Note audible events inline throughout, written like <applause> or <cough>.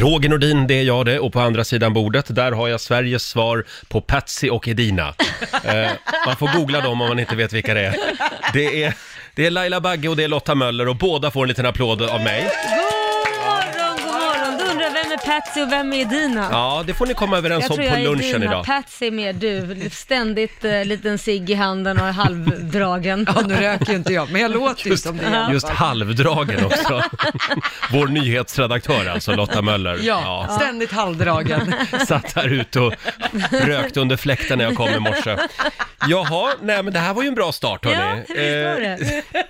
Roger Nordin, det är jag det. Och på andra sidan bordet, där har jag Sveriges svar på Patsy och Edina. <laughs> Eh, man får googla dem om man inte vet vilka det är. Det är, det är Laila Bagge och det är Lotta Möller och båda får en liten applåd av mig. morgon, god morgon. Du undrar vem är Patsy och vem är Dina? Ja, det får ni komma överens jag om tror på jag är lunchen Dina. idag. Patsy är mer du. Ständigt eh, liten cigg i handen och halvdragen. Ja, nu röker ju inte jag, men jag låter ju som det. i alla Just fall. halvdragen också. <laughs> Vår nyhetsredaktör alltså, Lotta Möller. Ja, ständigt halvdragen. Satt här ute och rökte under fläkten när jag kom i morse. Jaha, nej men det här var ju en bra start Ja, hörni. Eh, visst var det?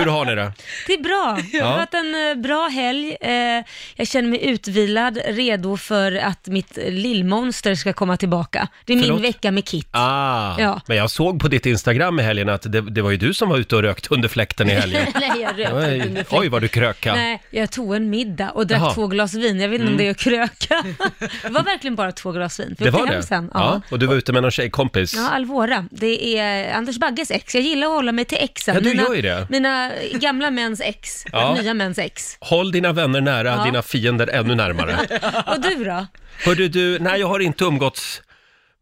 hur har ni det? Det är bra. Jag har haft en eh, bra helg. Eh, Jag känner mig utvilad, redo för att mitt eh, lillmonster ska komma tillbaka. Det är Förlåt? min vecka med Kit. Ah, Ja. men jag såg på ditt Instagram i helgen att det, det var ju du som var ute och rökte under fläkten i helgen. Nej, jag rökte Oj, inte <laughs> under oj vad du kröka. Nej, jag tog en middag och drack Jaha. Mm. två glas vin. Jag vet inte om det är att kröka. <laughs> det var verkligen bara två glas vin. För Det jag var åkte hem det? Sen. Ja, Ja. och du var ute med någon tjejkompis. Ja, Alvora. Det är Anders Bagges ex. Jag gillar att hålla mig till exen. Ja, du gör ju det. mina gamla mäns ex, Ja. nya mäns ex. Håll dina vänner nära, Ja. dina fiender ännu närmare. Och du då? Hörde du, nej jag har inte umgåtts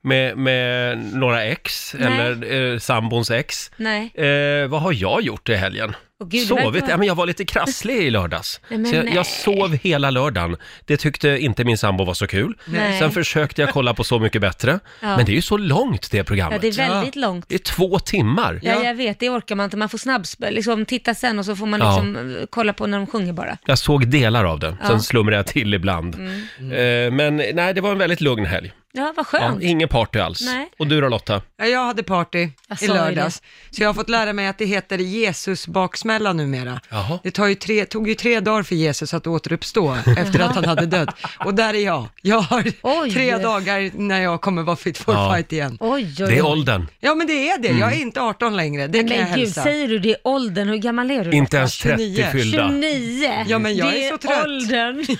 med, med några ex Nej. eller eh, sambons ex. Nej. Eh, vad har jag gjort i helgen? Åh, gud, det verkar Sovit? vara- Ja, men jag var lite krasslig i lördags. Nej, men så jag, nej. jag sov hela lördagen. Det tyckte inte min sambo var så kul. Nej. Sen försökte jag kolla på Så mycket bättre. Ja. Men det är ju så långt det Ja, programmet. det är väldigt långt. Det är två timmar. Ja, jag vet, det orkar man inte. Man får snabbs, liksom, titta sen och så får man Ja. liksom, eh, kolla på när de sjunger bara. Jag såg delar av det, sen Ja. Mm. slumrade jag till ibland. Eh, men nej, det var en väldigt lugn helg. Ja, vad Ja, skönt. ingen party alls. Nej. Och du då Lotta? Ja, jag hade party Jag sa i ju lördags, så jag har fått lära mig att det heter Jesus baksmälla numera. Jaha. Det tar ju tre, tog ju tre dagar för Jesus att återuppstå efter att han hade dött. Och där är jag. Jag har Oj. tre dagar när jag kommer vara fit for Ja. Mm. fight igen. Oj, oj, oj. Det är åldern. Ja, men det är det. Jag är inte 18 längre. Det kan jag Men gud, hälsa. säger du det är åldern? Hur gammal är du? då? Inte ens 30 29. fyllda. 29. Ja, men jag det är så trött. <laughs> åldern.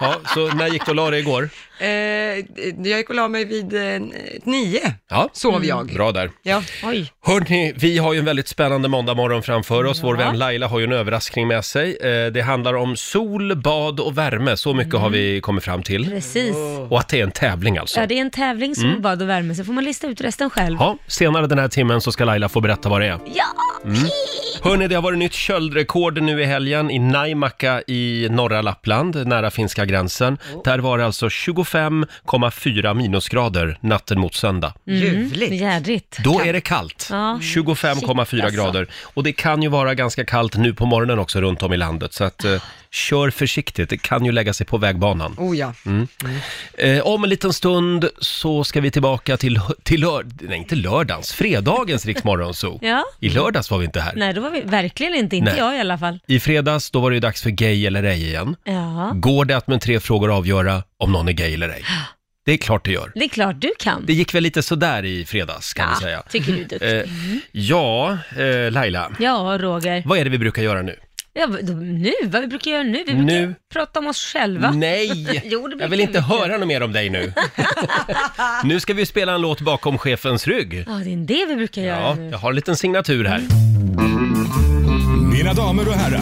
Ja, så när gick du och la dig igår? Eh, jag gick och la mig vid eh, nio, Ja. Mm. sov jag. Bra där. Ja. Oj. Hörni, vi har ju en väldigt spännande måndagmorgon framför oss. Vår vän Laila har ju en överraskning med sig. Eh, Det handlar om sol, bad och värme. Så mycket har vi kommit fram till. Mm. Precis. Och att det är en tävling alltså. Ja, det är en tävling som bad och värme, så får man lista ut resten själv. Ja, senare den här timmen så ska Laila få berätta vad det är. Ja! Hörni, det har varit nytt köldrekord nu i helgen i Naimaka i norra Lappland, nära finska gränsen. Oh. Där var det alltså 25,4 minusgrader natten mot söndag. Mm. Ljuvligt. Jädrigt. Då är det kallt. Ja. Mm. 25,4 Shit, alltså. grader. Och det kan ju vara ganska kallt nu på morgonen också runt om i landet. Så att eh, kör försiktigt, det kan ju lägga sig på vägbanan. Oh ja. Mm. Eh, om en liten stund så ska vi tillbaka till, till lör, nej, inte lördagens, fredagens Riksmorgonzoo. <laughs> Ja. I lördags var vi inte här. Nej, då var vi verkligen inte, inte Typ. Nej. jag i alla fall. I fredags, då var det ju dags för gay eller ej igen. Ja, Går det att med tre frågor avgöra om någon är gay eller ej? Det är klart det gör. det är klart du kan. Det gick väl lite sådär i fredags kan man ja, säga. tycker du är duktig. Eh, ja, eh, Laila. Ja, Roger. Vad är det vi brukar göra nu? Ja, vad- då- nu, vad vi brukar göra nu? Vi brukar Nu. prata om oss själva. Nej! Jo, det brukar jag vill inte vi. höra något mer om dig nu. nu ska vi spela en låt bakom chefens rygg. Ja, det är det vi brukar göra Ja, nu. jag har en liten signatur här. Mina damer och herrar,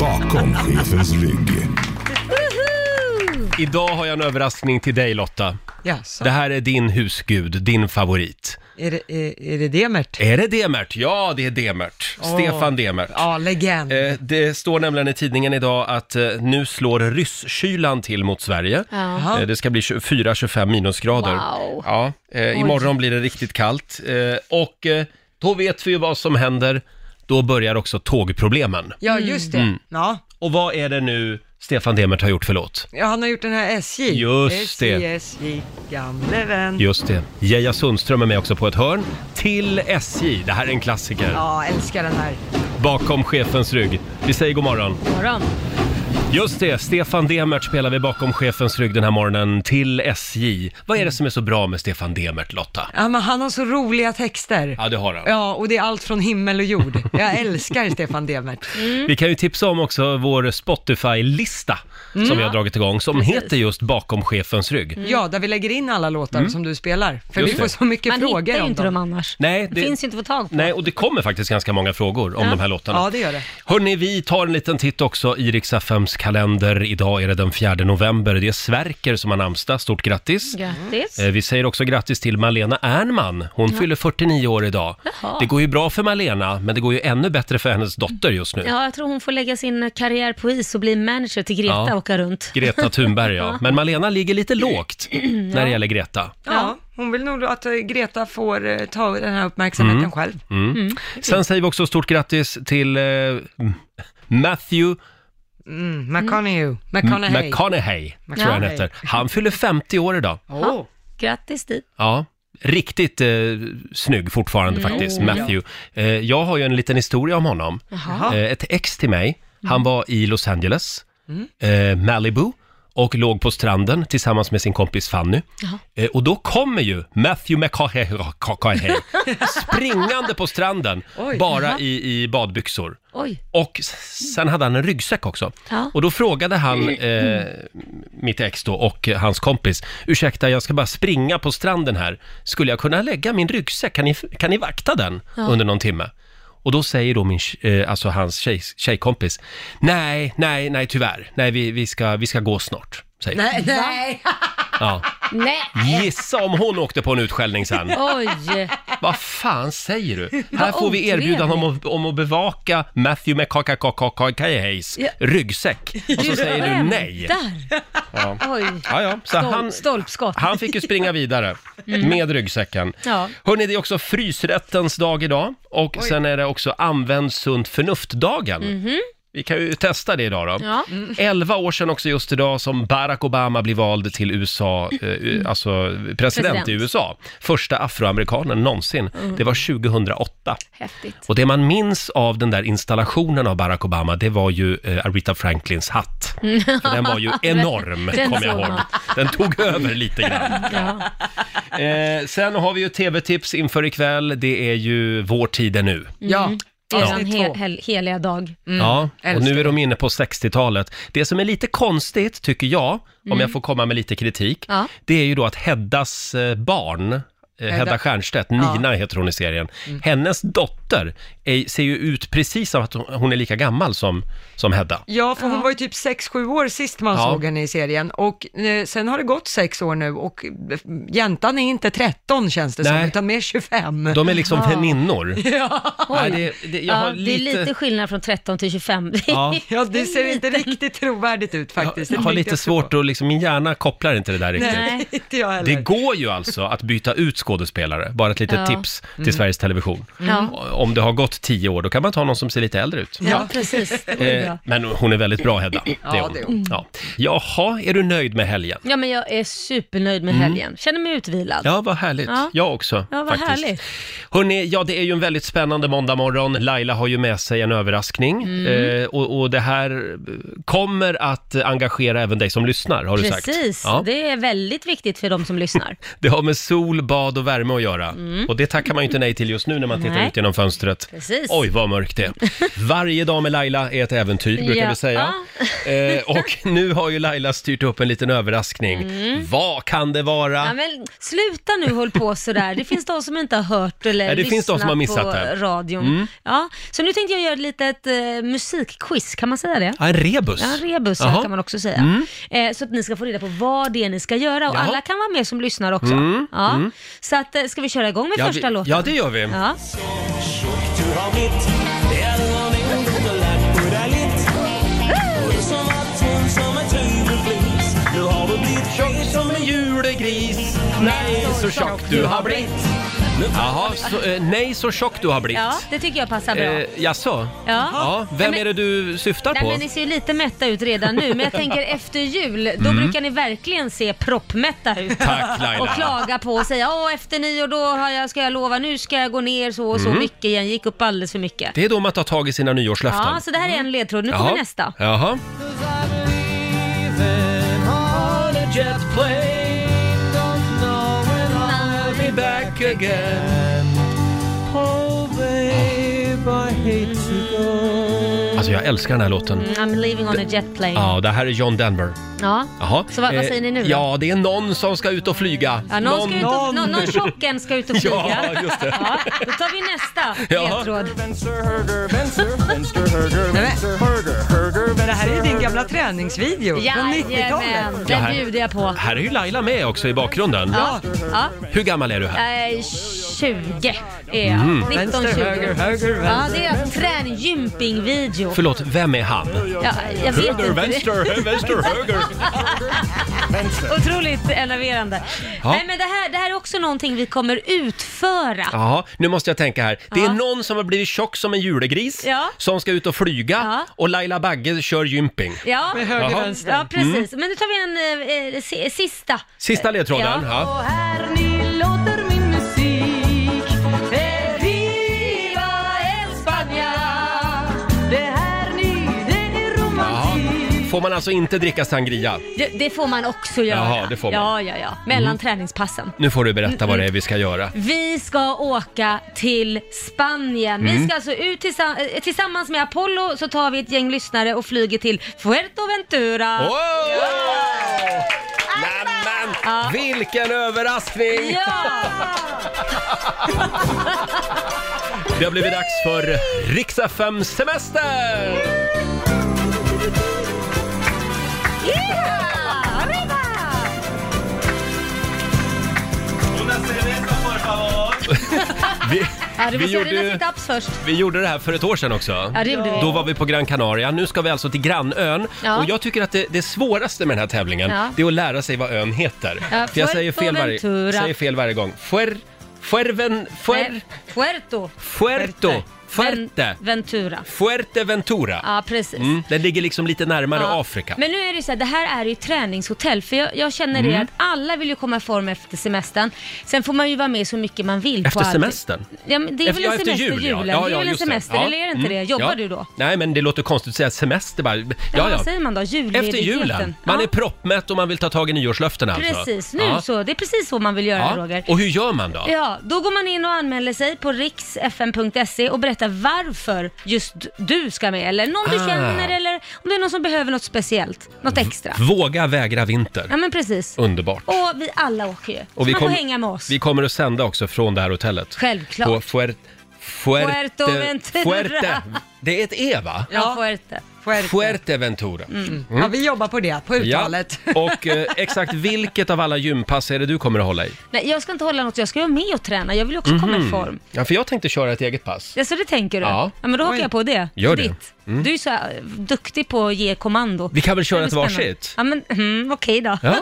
bakom chefens rygg. Woho! Idag har jag en överraskning till dig Lotta. Jaså. Det här är din husgud, din favorit. Är, det- är, är det typ? Demert? Är det Demert? Ja, det är Demert. Åh. Stefan Demert. Ja, legend. Eh, Det står nämligen i tidningen idag att eh, nu slår rysskylan till mot Sverige. Ja. Jaha. Eh, Det ska bli 24-25 minusgrader. Wow. Ja, eh, imorgon blir det riktigt kallt. Eh, och eh, då vet vi ju vad som händer. Då börjar också tågproblemen. Ja, just det. Mm. Ja. Och vad är det nu Stefan Demert har gjort för låt? ja, han har gjort den här SJ. Just SJ, det. SJ, gamle vän. Just det. Geja Sundström är med också på ett hörn. Till SJ. Det här är en klassiker. Ja, älskar den här. Bakom chefens rygg. Vi säger god morgon. Morgon. Just det, Stefan Demert spelar vi bakom chefens rygg den här morgonen till SJ. Vad är det som är så bra med Stefan Demert, Lotta? Ja, men han har så roliga texter. Ja, det har han. Ja, och det är allt från himmel och jord. <laughs> Jag älskar Stefan Demert. Mm. Vi kan ju tipsa om också vår Spotify-lista Mm. som vi har dragit igång, som heter just Bakom chefens rygg. Ja, där vi lägger in alla låtar som du spelar. För Mm. Just vi får det. så mycket Man frågor hittar ju om inte dem. dem annars. Nej, det... finns ju inte att få tag på. Nej, och det kommer faktiskt ganska många frågor om de här låtarna. Ja, det gör det. Hörni, vi tar en liten titt också i Riksaffems adventskalender. Idag är det den 4 november. Det är Sverker som har namnsdag. Stort grattis! Grattis. Eh, Vi säger också grattis till Malena Ernman. Hon fyller 49 år idag. Jaha. Det går ju bra för Malena, men det går ju ännu bättre för hennes dotter just nu. Ja, jag tror hon får lägga sin karriär på is och bli manager till Greta Ja. och åka runt. Greta Thunberg, <laughs> ja. Men Malena ligger lite lågt när det gäller Greta. Ja, hon vill nog att eh, Greta får eh, ta den här uppmärksamheten själv. Mm. Sen säger vi också stort grattis till eh, M- Matthew Mm, McConaughey. McConaughey. McConaughey. tror jag han McConaughey. heter. Han fyller 50 år idag. Åh. Grattis dit. Ja, riktigt eh, snygg fortfarande faktiskt, Matthew. Eh, jag har ju en liten historia om honom. Jaha. Eh, ett ex till mig, han var i Los Angeles, eh, Malibu, och låg på stranden tillsammans med sin kompis Fanny. Jaha. Eh, och då kommer ju Matthew McConaughey <laughs> springande på stranden, Oj. bara i, i badbyxor. Oj. Och s- sen hade han en ryggsäck också. Ja. Och då frågade han, eh, mitt ex då, och eh, hans kompis, ursäkta jag ska bara springa på stranden här, skulle jag kunna lägga min ryggsäck, kan ni, kan ni vakta den under någon timme? Och då säger då min, tj- eh, alltså hans tjej, tjejkompis, nej, nej, nej tyvärr, nej vi, vi, ska, vi ska gå snart. Säger. hon. Nej, nej. Ja. Nej. Gissa om hon åkte på en utskällning sen. Oj. Vad fan säger du? Här Vad får vi erbjudan om otrevligt. att, om att bevaka Matthew McConaughey's Ja. ryggsäck. Och så säger du nej. Där. Ja. Oj. Ja, ja. Så Stolp, han, Stolpskott. han fick ju <laughs> springa vidare med ryggsäcken. Mm. Ja. Hörni, det är också frysrättens dag idag och sen är det också använd sunt förnuft-dagen. Vi kan ju testa det idag då. Mhm. Ja. 11 år sedan också just idag som Barack Obama blev vald till USA, eh, eh, alltså president, Mm. President. Mm. i USA. Första afroamerikanen någonsin. Det var 2008. Häftigt. Och det man minns av den där installationen av Barack Obama, det var ju eh, Aretha Franklins hatt. För den var <laughs> ju enorm, Mm. den kommer jag såg ihåg. man. Den tog över lite grann. Ja. Eh, sen har vi ju tv-tips inför ikväll. Det är ju Vår tid är nu. Ja, Mm. Det Mm. är Ja. en hel, hel, heliga dag. ja, och älskar nu är de inne på 60-talet. Det som är lite konstigt, tycker jag, om jag får komma med lite kritik, Mm. Ja. det är ju då att Heddas eh, barn, eh, Hedda Stiernstedt, Nina heter hon i serien, Mm. hennes dotter är, ser ju ut precis som att hon- hon är lika gammal som, som Hedda. Ja, för hon var ju typ 6-7 år sist man Ja. såg henne i serien och eh, sen har det gått 6 år nu och eh, jäntan är inte 13 känns det Nej. som, utan mer 25. De är liksom <laughs> väninnor. Nej, det, det, jag Ja, har det är lite skillnad från 13 till 25. Ja. Ja, det ser inte riktigt trovärdigt ut faktiskt. Jag har lite svårt att, liksom, min hjärna kopplar inte det där riktigt. Nej. att... Inte jag Det heller. går ju alltså att byta ut skådespelare, bara ett litet Ja. Mm. tips till Sveriges Television. <laughs> Ja. Om det har gått tio år, då kan man ta någon som ser lite äldre ut. Ja, precis. Det vore Eh, bra. men hon är väldigt bra, Hedda. Det är Ja, hon. det är Ja. Jaha, är du nöjd med helgen? Ja, men jag är supernöjd med helgen. Känner mig utvilad. Mm. Ja, vad härligt. Ja. Jag också. Ja, vad faktiskt. härligt. Hörrni, ja, det är ju en väldigt spännande måndag morgon. Laila har ju med sig en överraskning. Mm. Eh, och, och det här eh, kommer att engagera även dig som lyssnar, har du sagt. Precis, Ja. det är väldigt viktigt för de <laughs> som lyssnar. Det har med sol, bad och värme att göra. Och det tackar man ju inte nej till just nu när man tittar Mm. Nej. ut genom fönstret. Precis. Oj, vad mörkt det är. <laughs> Varje dag med Laila är ett äventyr, brukar Ja. vi säga. <laughs> Eh, och nu har ju Laila styrt upp en liten överraskning. Vad kan det vara? Mm. Ja, men sluta nu håll på sådär. Det finns de som inte har hört eller Ja, det finns de som har lyssnat missat på det. Mm. radion. Ja, så nu tänkte jag göra ett litet eh, musikquiz, kan man säga det? Ja, en rebus. Ja, rebus ja, Jaha. Mm. kan man också säga. Eh, så att ni ska få reda på vad det är ni ska göra och Jaha. Mm. alla kan vara med som lyssnar också. Ja. Så att, eh, ska vi köra igång med Ja, första vi, låten? ja, det gör vi. Ja. Som en julegris, nej så tjock du har blivit. Jaha, så, eh, nej så tjock du har blivit. ja, det tycker jag passar bra. Eh, jaså? ja. Ja, vem Nej, men- är det du syftar Nej på? men ni ser ju lite mätta ut redan nu, men <laughs> jag tänker efter jul, Mm. då brukar ni verkligen se <laughs> proppmätta ut. Tack, Laila. Och klaga på och säga, åh efter nyår då har jag, ska jag lova, nu ska jag gå ner så och så mycket igen, gick upp alldeles för mycket. Mm. Det är då man tar tag i sina nyårslöften. Ja, så det här är en ledtråd. Nu kommer nästa. Jaha. Alltså jag älskar den här låten. Mm, I'm leaving on a jet plane. Ja. Ja, det här är John Denver. Jaha. Så vad- vad Eh, säger ni nu då? Ja, det är någon som ska ut och flyga. Ja, någon, ska ut och, Någon. någon, någon tjocken ska ut och <laughs> flyga. Ja, just det. Ja, då tar vi nästa Ja. ledtråd. Men det här är ju din gamla träningsvideo från 90-talet. Jajamän, Ja, den här- bjuder jag på. Här är ju Laila med också i bakgrunden. Ja, ja. Hur gammal är du här? Eh, 20 är jag. Mm. 19, Vänster, 20. höger, höger, Ja, vänster. det är en trängymping-video. Förlåt, vem är han? Ja, jag vet inte. vänster, höger. <laughs> Otroligt enerverande. Ja. Nej, men det här, det här är också någonting vi kommer utföra. Ja, nu måste jag tänka här. Det är Ja. någon som har blivit tjock som en julegris, Ja. som ska ut och flyga Ja. och Laila Bagge kör gymping. Ja, Med höger, Jaha. vänster. Mm. ja precis. Men nu tar vi en eh, eh, si- sista. Sista ledtråden. Ja. Ja. Eh, Får man alltså inte dricka sangria? Det, det får man också göra. Jaha, det får man. Ja, ja, ja. Mellan träningspassen. Nu får du berätta vad det är vi ska göra. Vi ska åka till Spanien. Vi Mm. ska alltså ut tillsa- eh, tillsammans med Apollo så tar vi ett gäng lyssnare och flyger till Fuerteventura. Wow! Nämen, Ja. vilken överraskning! <laughs> Ja! Det har blivit dags för Rix FM semester! Yeah! Arriba! Vi, Ja, du vi, måste göra dina gjorde, sit-ups först. vi gjorde det här för ett år sedan också. Ja, det gjorde vi. Då var vi på Gran Canaria, nu ska vi alltså till grannön. Ja. Och jag tycker att det, det svåraste med den här tävlingen, Ja. det är att lära sig vad ön heter. Ja, För jag säger fel, varje, Fuerteventura. säger fel varje gång. Fuer, fuerven, fuer, Nej, Puerto. fuerto, fuerte, Ven- Ventura. fuerteventura. Ja, precis. Mm, den ligger liksom lite närmare Ja. Afrika. Men nu är det ju så här, det här är ju ett träningshotell för jag, jag känner Mm. det att alla vill ju komma i form efter semestern. Sen får man ju vara med så mycket man vill Efter på allt. semestern? Ja, men det är Efter, väl ja, en efter semester, jul, ja. julen? ja, det är ja väl en just semester, Ja. eller är det inte det? Mm, Jobbar ja. du då? Nej, men det låter konstigt att säga semester bara. Ja, Ja, ja. vad säger man då? Julledigheten? Efter julen. Man Ja. är proppmätt och man vill ta tag i nyårslöften alltså. Precis, nu Ja. så. Det är precis så man vill göra Ja. Roger. Och hur gör man då? Ja, då går man in och anmäler sig på riksfn.se och berättar varför just du ska med, eller någon du Ah. känner, eller om det är någon som behöver något speciellt, något extra. Våga vägra vinter. Ja men precis. Underbart. Och vi alla åker ju. Så vi man kom- får hänga med oss. Vi kommer att sända också från det här hotellet. Självklart. På Fuert... Fuerte... Fuerteventura. Fuerte. Det är ett E va? Ja, Ja. Fuerte. Fuerte. Fuerteventura. Mm. Ja, vi jobbar på det, på uttalet. <laughs> Och eh, exakt vilket av alla gympass är det du kommer att hålla i? Nej, jag ska inte hålla något, jag ska vara med och träna. Jag vill också komma i form. Ja, för jag tänkte köra ett eget pass. Ja, så det tänker du? Mhm. Ja. Ja. men då hakar Oj. jag på det. Gör det. Mm. Ditt. Du är så här, duktig på att ge kommando. Vi kan väl köra Det ett blir spännande. varsitt? Ja, men mm, okej då. Ja,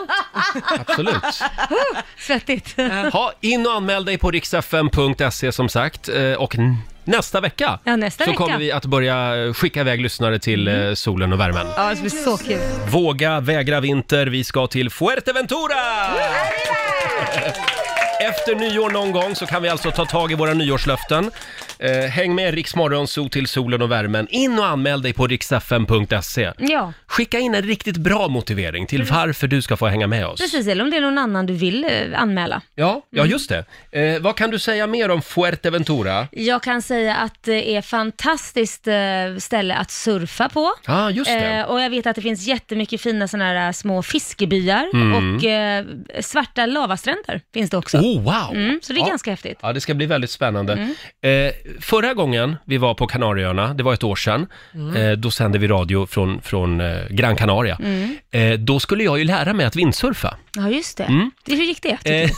absolut. Svettigt. Ha, in och anmäl dig på riksfm.se som sagt. Eh, Och n- nästa vecka Ja, nästa så vecka. Mm. kommer vi att börja eh, skicka iväg lyssnare till eh, solen och värmen. Ja, det blir så kul. Våga vägra vinter, vi ska till Fuerteventura! Efter nyår någon gång så kan vi alltså ta tag i våra nyårslöften. Eh, häng med Rix Morgonzoo till solen och värmen. In och anmäl dig på riksfm.se. Ja, Skicka in en riktigt bra motivering till varför du ska få hänga med oss. Mm. precis. Eller om det är någon annan du vill eh, anmäla. Ja, ja just det. Eh, vad kan du säga mer om Fuerteventura? Jag kan säga att det är fantastiskt eh, ställe att surfa på. Ja, ah, just det. Eh, och jag vet att det finns jättemycket fina sådana här äh, små fiskebyar och eh, svarta lavastränder finns det också. oh, wow! Mm, så det är Ja. ganska häftigt. Mm. Ja, det ska bli väldigt spännande. Eh, förra gången vi var på Kanarieöarna, det var ett år sedan, eh, då sände vi radio från, från eh, Gran Canaria. Mm. Eh, då skulle jag ju lära mig att vindsurfa. Ja, just det. det hur gick det? tycker Eh,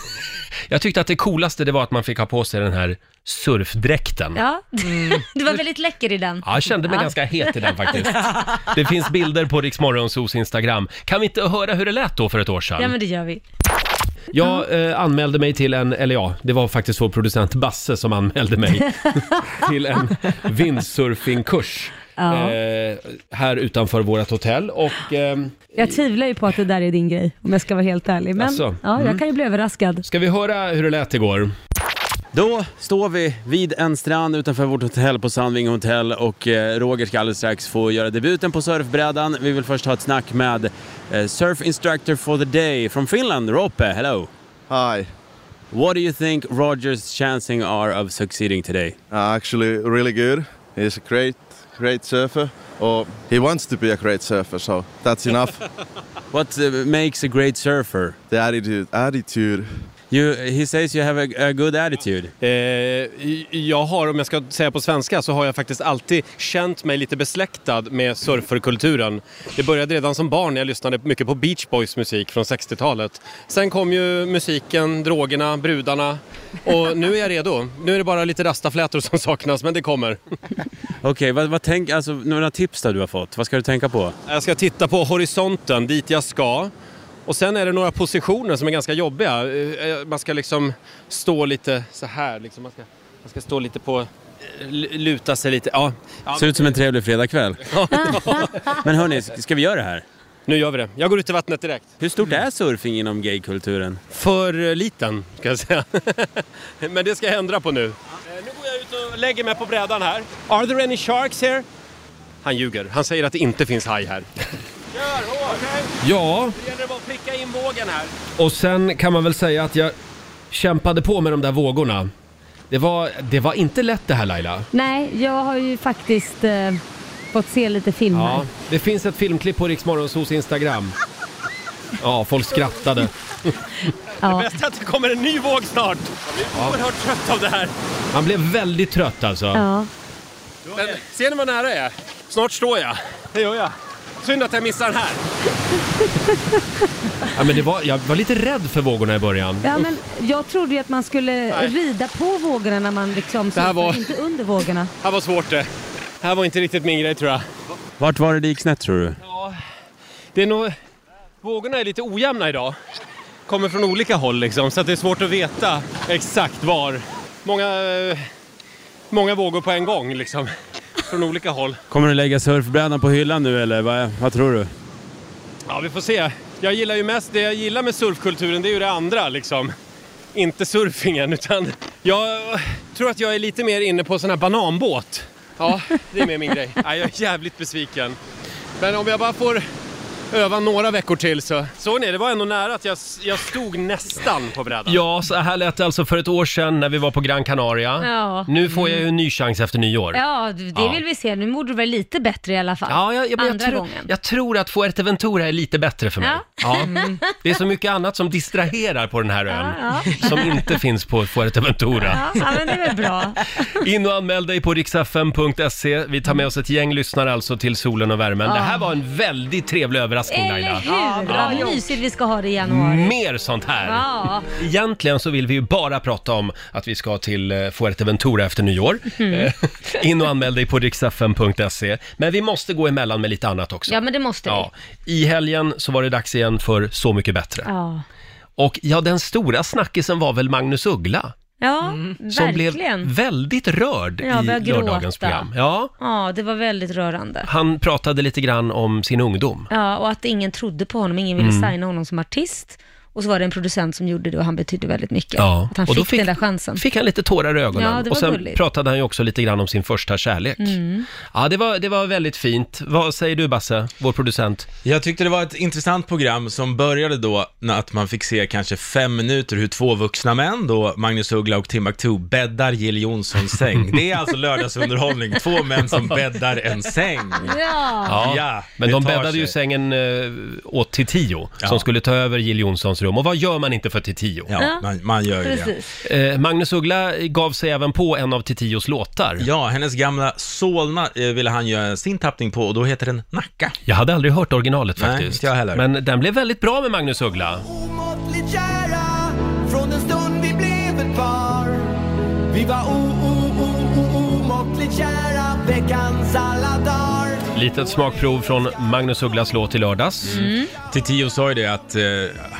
jag tyckte att det coolaste det var att man fick ha på sig den här surfdräkten. Ja. Ja, <laughs> du var väldigt läcker i den. jag kände mig Ja. ganska het i den faktiskt. <laughs> Det finns bilder på Rix Morgonzoos Instagram. Kan vi inte höra hur det lät då för ett år sedan? Ja, men det gör vi. Jag eh, anmälde mig till en, eller ja, det var faktiskt vår producent Basse som anmälde mig till en windsurfingkurs. Ja. Eh, här utanför vårt hotell och eh, Jag tvivlar ju på att det där är din grej, om jag ska vara helt ärlig. Men Alltså, ja, jag kan ju bli överraskad. ska vi höra hur det lät igår? Då står vi vid en strand utanför vårt hotell på Sandvinga hotell och eh, Roger ska alldeles strax få göra debuten på surfbrädan. Vi vill först ha ett snack med eh, surf instructor for the day från Finland, Rope. Hello! Hi. What do you think Rogers' chancing are of succeeding today? Uh, actually, really good. He's a great, great surfer, or he wants to be a great surfer. So that's enough. What uh, makes a great surfer? the attitude, attitude. You, he says you have a, a good attitude. Eh, i- jag har, om jag ska säga på svenska, så har jag faktiskt alltid känt mig lite besläktad med surferkulturen. Det började redan som barn när jag lyssnade mycket på Beach Boys musik från 60-talet. Sen kom ju musiken, drogerna, brudarna och nu är jag redo. Nu är det bara lite rastaflätor som saknas, men det kommer. Okej, vad, vad tänk, alltså, några tips där du har fått? Vad ska du tänka på? Jag ska titta på horisonten, dit jag ska. Och sen är det några positioner som är ganska jobbiga. Eh, Man ska liksom stå lite så här, liksom. man, ska, man ska stå lite på, eh, l- luta sig lite. Ja. Ja, Ser ut som en trevlig <laughs> fredagkväll. Men hörni, ska vi göra det här? nu gör vi det. Jag går ut i vattnet direkt. Hur stort Mm. är surfing inom gaykulturen? För eh, liten, ska jag säga. <laughs> Men det ska jag ändra på nu. Eh, Nu går jag ut och lägger mig på brädan här. Are there any sharks here? Han ljuger. Han säger att det inte finns haj här. Kör hårt! Ja, Det gäller bara att pricka in vågen här. och sen kan man väl säga att jag kämpade på med de där vågorna. Det var, det var inte lätt det här Laila. Nej, jag har ju faktiskt eh, fått se lite filmer. Ja, det finns ett filmklipp på Riksmorgonsos Instagram. Ja, folk skrattade. Ja. Bäst att det kommer en ny våg snart. Jag blir oerhört trött av det här. Han blev väldigt trött alltså. Ja. Men ser ni vad nära jag är? Snart står jag. Det gör jag. Synd att jag missar den här. <laughs> Ja, men det var, jag var lite rädd för vågorna i början. ja, men jag trodde ju att man skulle Nej. rida på vågorna när man liksom här surfar, var- inte under vågorna. Det här var svårt det. Det här var inte riktigt min grej tror jag. Vart var det det gick snett tror du? Det är nog... Vågorna är lite ojämna idag. Kommer från olika håll liksom, så att det är svårt att veta exakt var. Många, eh, många vågor på en gång liksom. Från olika håll. Kommer du lägga surfbrädan på hyllan nu eller vad, vad tror du? Ja, vi får se. Jag gillar ju mest, det jag gillar med surfkulturen det är ju det andra liksom. Inte surfingen utan jag tror att jag är lite mer inne på sån här bananbåt. Ja, det är mer min grej. <laughs> Nej, jag är jävligt besviken. Men om jag bara får öva några veckor till så. Såg ni, det var ändå nära att jag, jag stod nästan på brädan. Ja, så här lät det alltså för ett år sedan när vi var på Gran Canaria. Ja. Nu får jag ju en ny chans efter nyår. Ja, det Ja. vill vi se. Nu mår du väl lite bättre i alla fall? Ja, jag, jag, jag, Andra tror, gången. jag tror att Fuerteventura är lite bättre för mig. Ja. Ja. Det är så mycket annat som distraherar på den här ön, Ja, som inte finns på Fuerteventura. Ja, ja, men det är väl bra. In och anmäl dig på riksfm.se. Vi tar med oss ett gäng lyssnare alltså till solen och värmen. Det här var en väldigt trevlig överraskning Eller Laila. Mm. hur? Vad mysigt vi ska ha det i januari. Mer sånt här! Ja. Egentligen så vill vi ju bara prata om att vi ska till eh, Fuerteventura efter nyår. Mhm. Eh, <laughs> In och anmäl dig på riksfm.se. Men vi måste gå emellan med lite annat också. ja, men det måste vi. Ja. I helgen så var det dags igen för Så mycket bättre. Ja, Och ja, den stora snackisen var väl Magnus Uggla. ja Som verkligen. blev väldigt rörd Ja, i började gråta. lördagens program. Ja, Ja, det var väldigt rörande. han pratade lite grann om sin ungdom. Ja, och att ingen trodde på honom, ingen ville Mm. signa honom som artist. Och så var det en producent som gjorde det och han betydde väldigt mycket. Ja, Att han och fick, då fick- den där chansen. fick han lite tårar i ögonen. Ja, det var och sen gulligt. Mm. pratade han ju också lite grann om sin första kärlek. Ja, det var, det var väldigt fint. Vad säger du Basse, vår producent? Jag tyckte det var ett intressant program som började då när att man fick se kanske fem minuter hur två vuxna män, då Magnus Uggla och Timbuktu, bäddar Jill Johnsons <laughs> säng. Det är alltså lördagsunderhållning, två män som bäddar en säng. Ja, Ja, men det de tar bäddade ju sig. sängen eh, åt till tio, som Ja. skulle ta över Jill Johnsons rum. Och vad gör man inte för till tio? Ja, man, man gör ju det. precis. Eh, Magnus Uggla gav sig även på en av Titios låtar. Ja, hennes gamla Solna eh, ville han göra sin tappning på och då heter den Nacka. Jag hade aldrig hört originalet Nej, faktiskt. inte jag heller. Men den blev väldigt bra med Magnus Uggla. omåttligt kära från den stund vi blev ett par. Vi var o, o, o, o, omåttligt kära veckans alla dagar. Litet smakprov från Magnus Ugglas låt i lördags. Mm. Titiyo sa ju det att eh,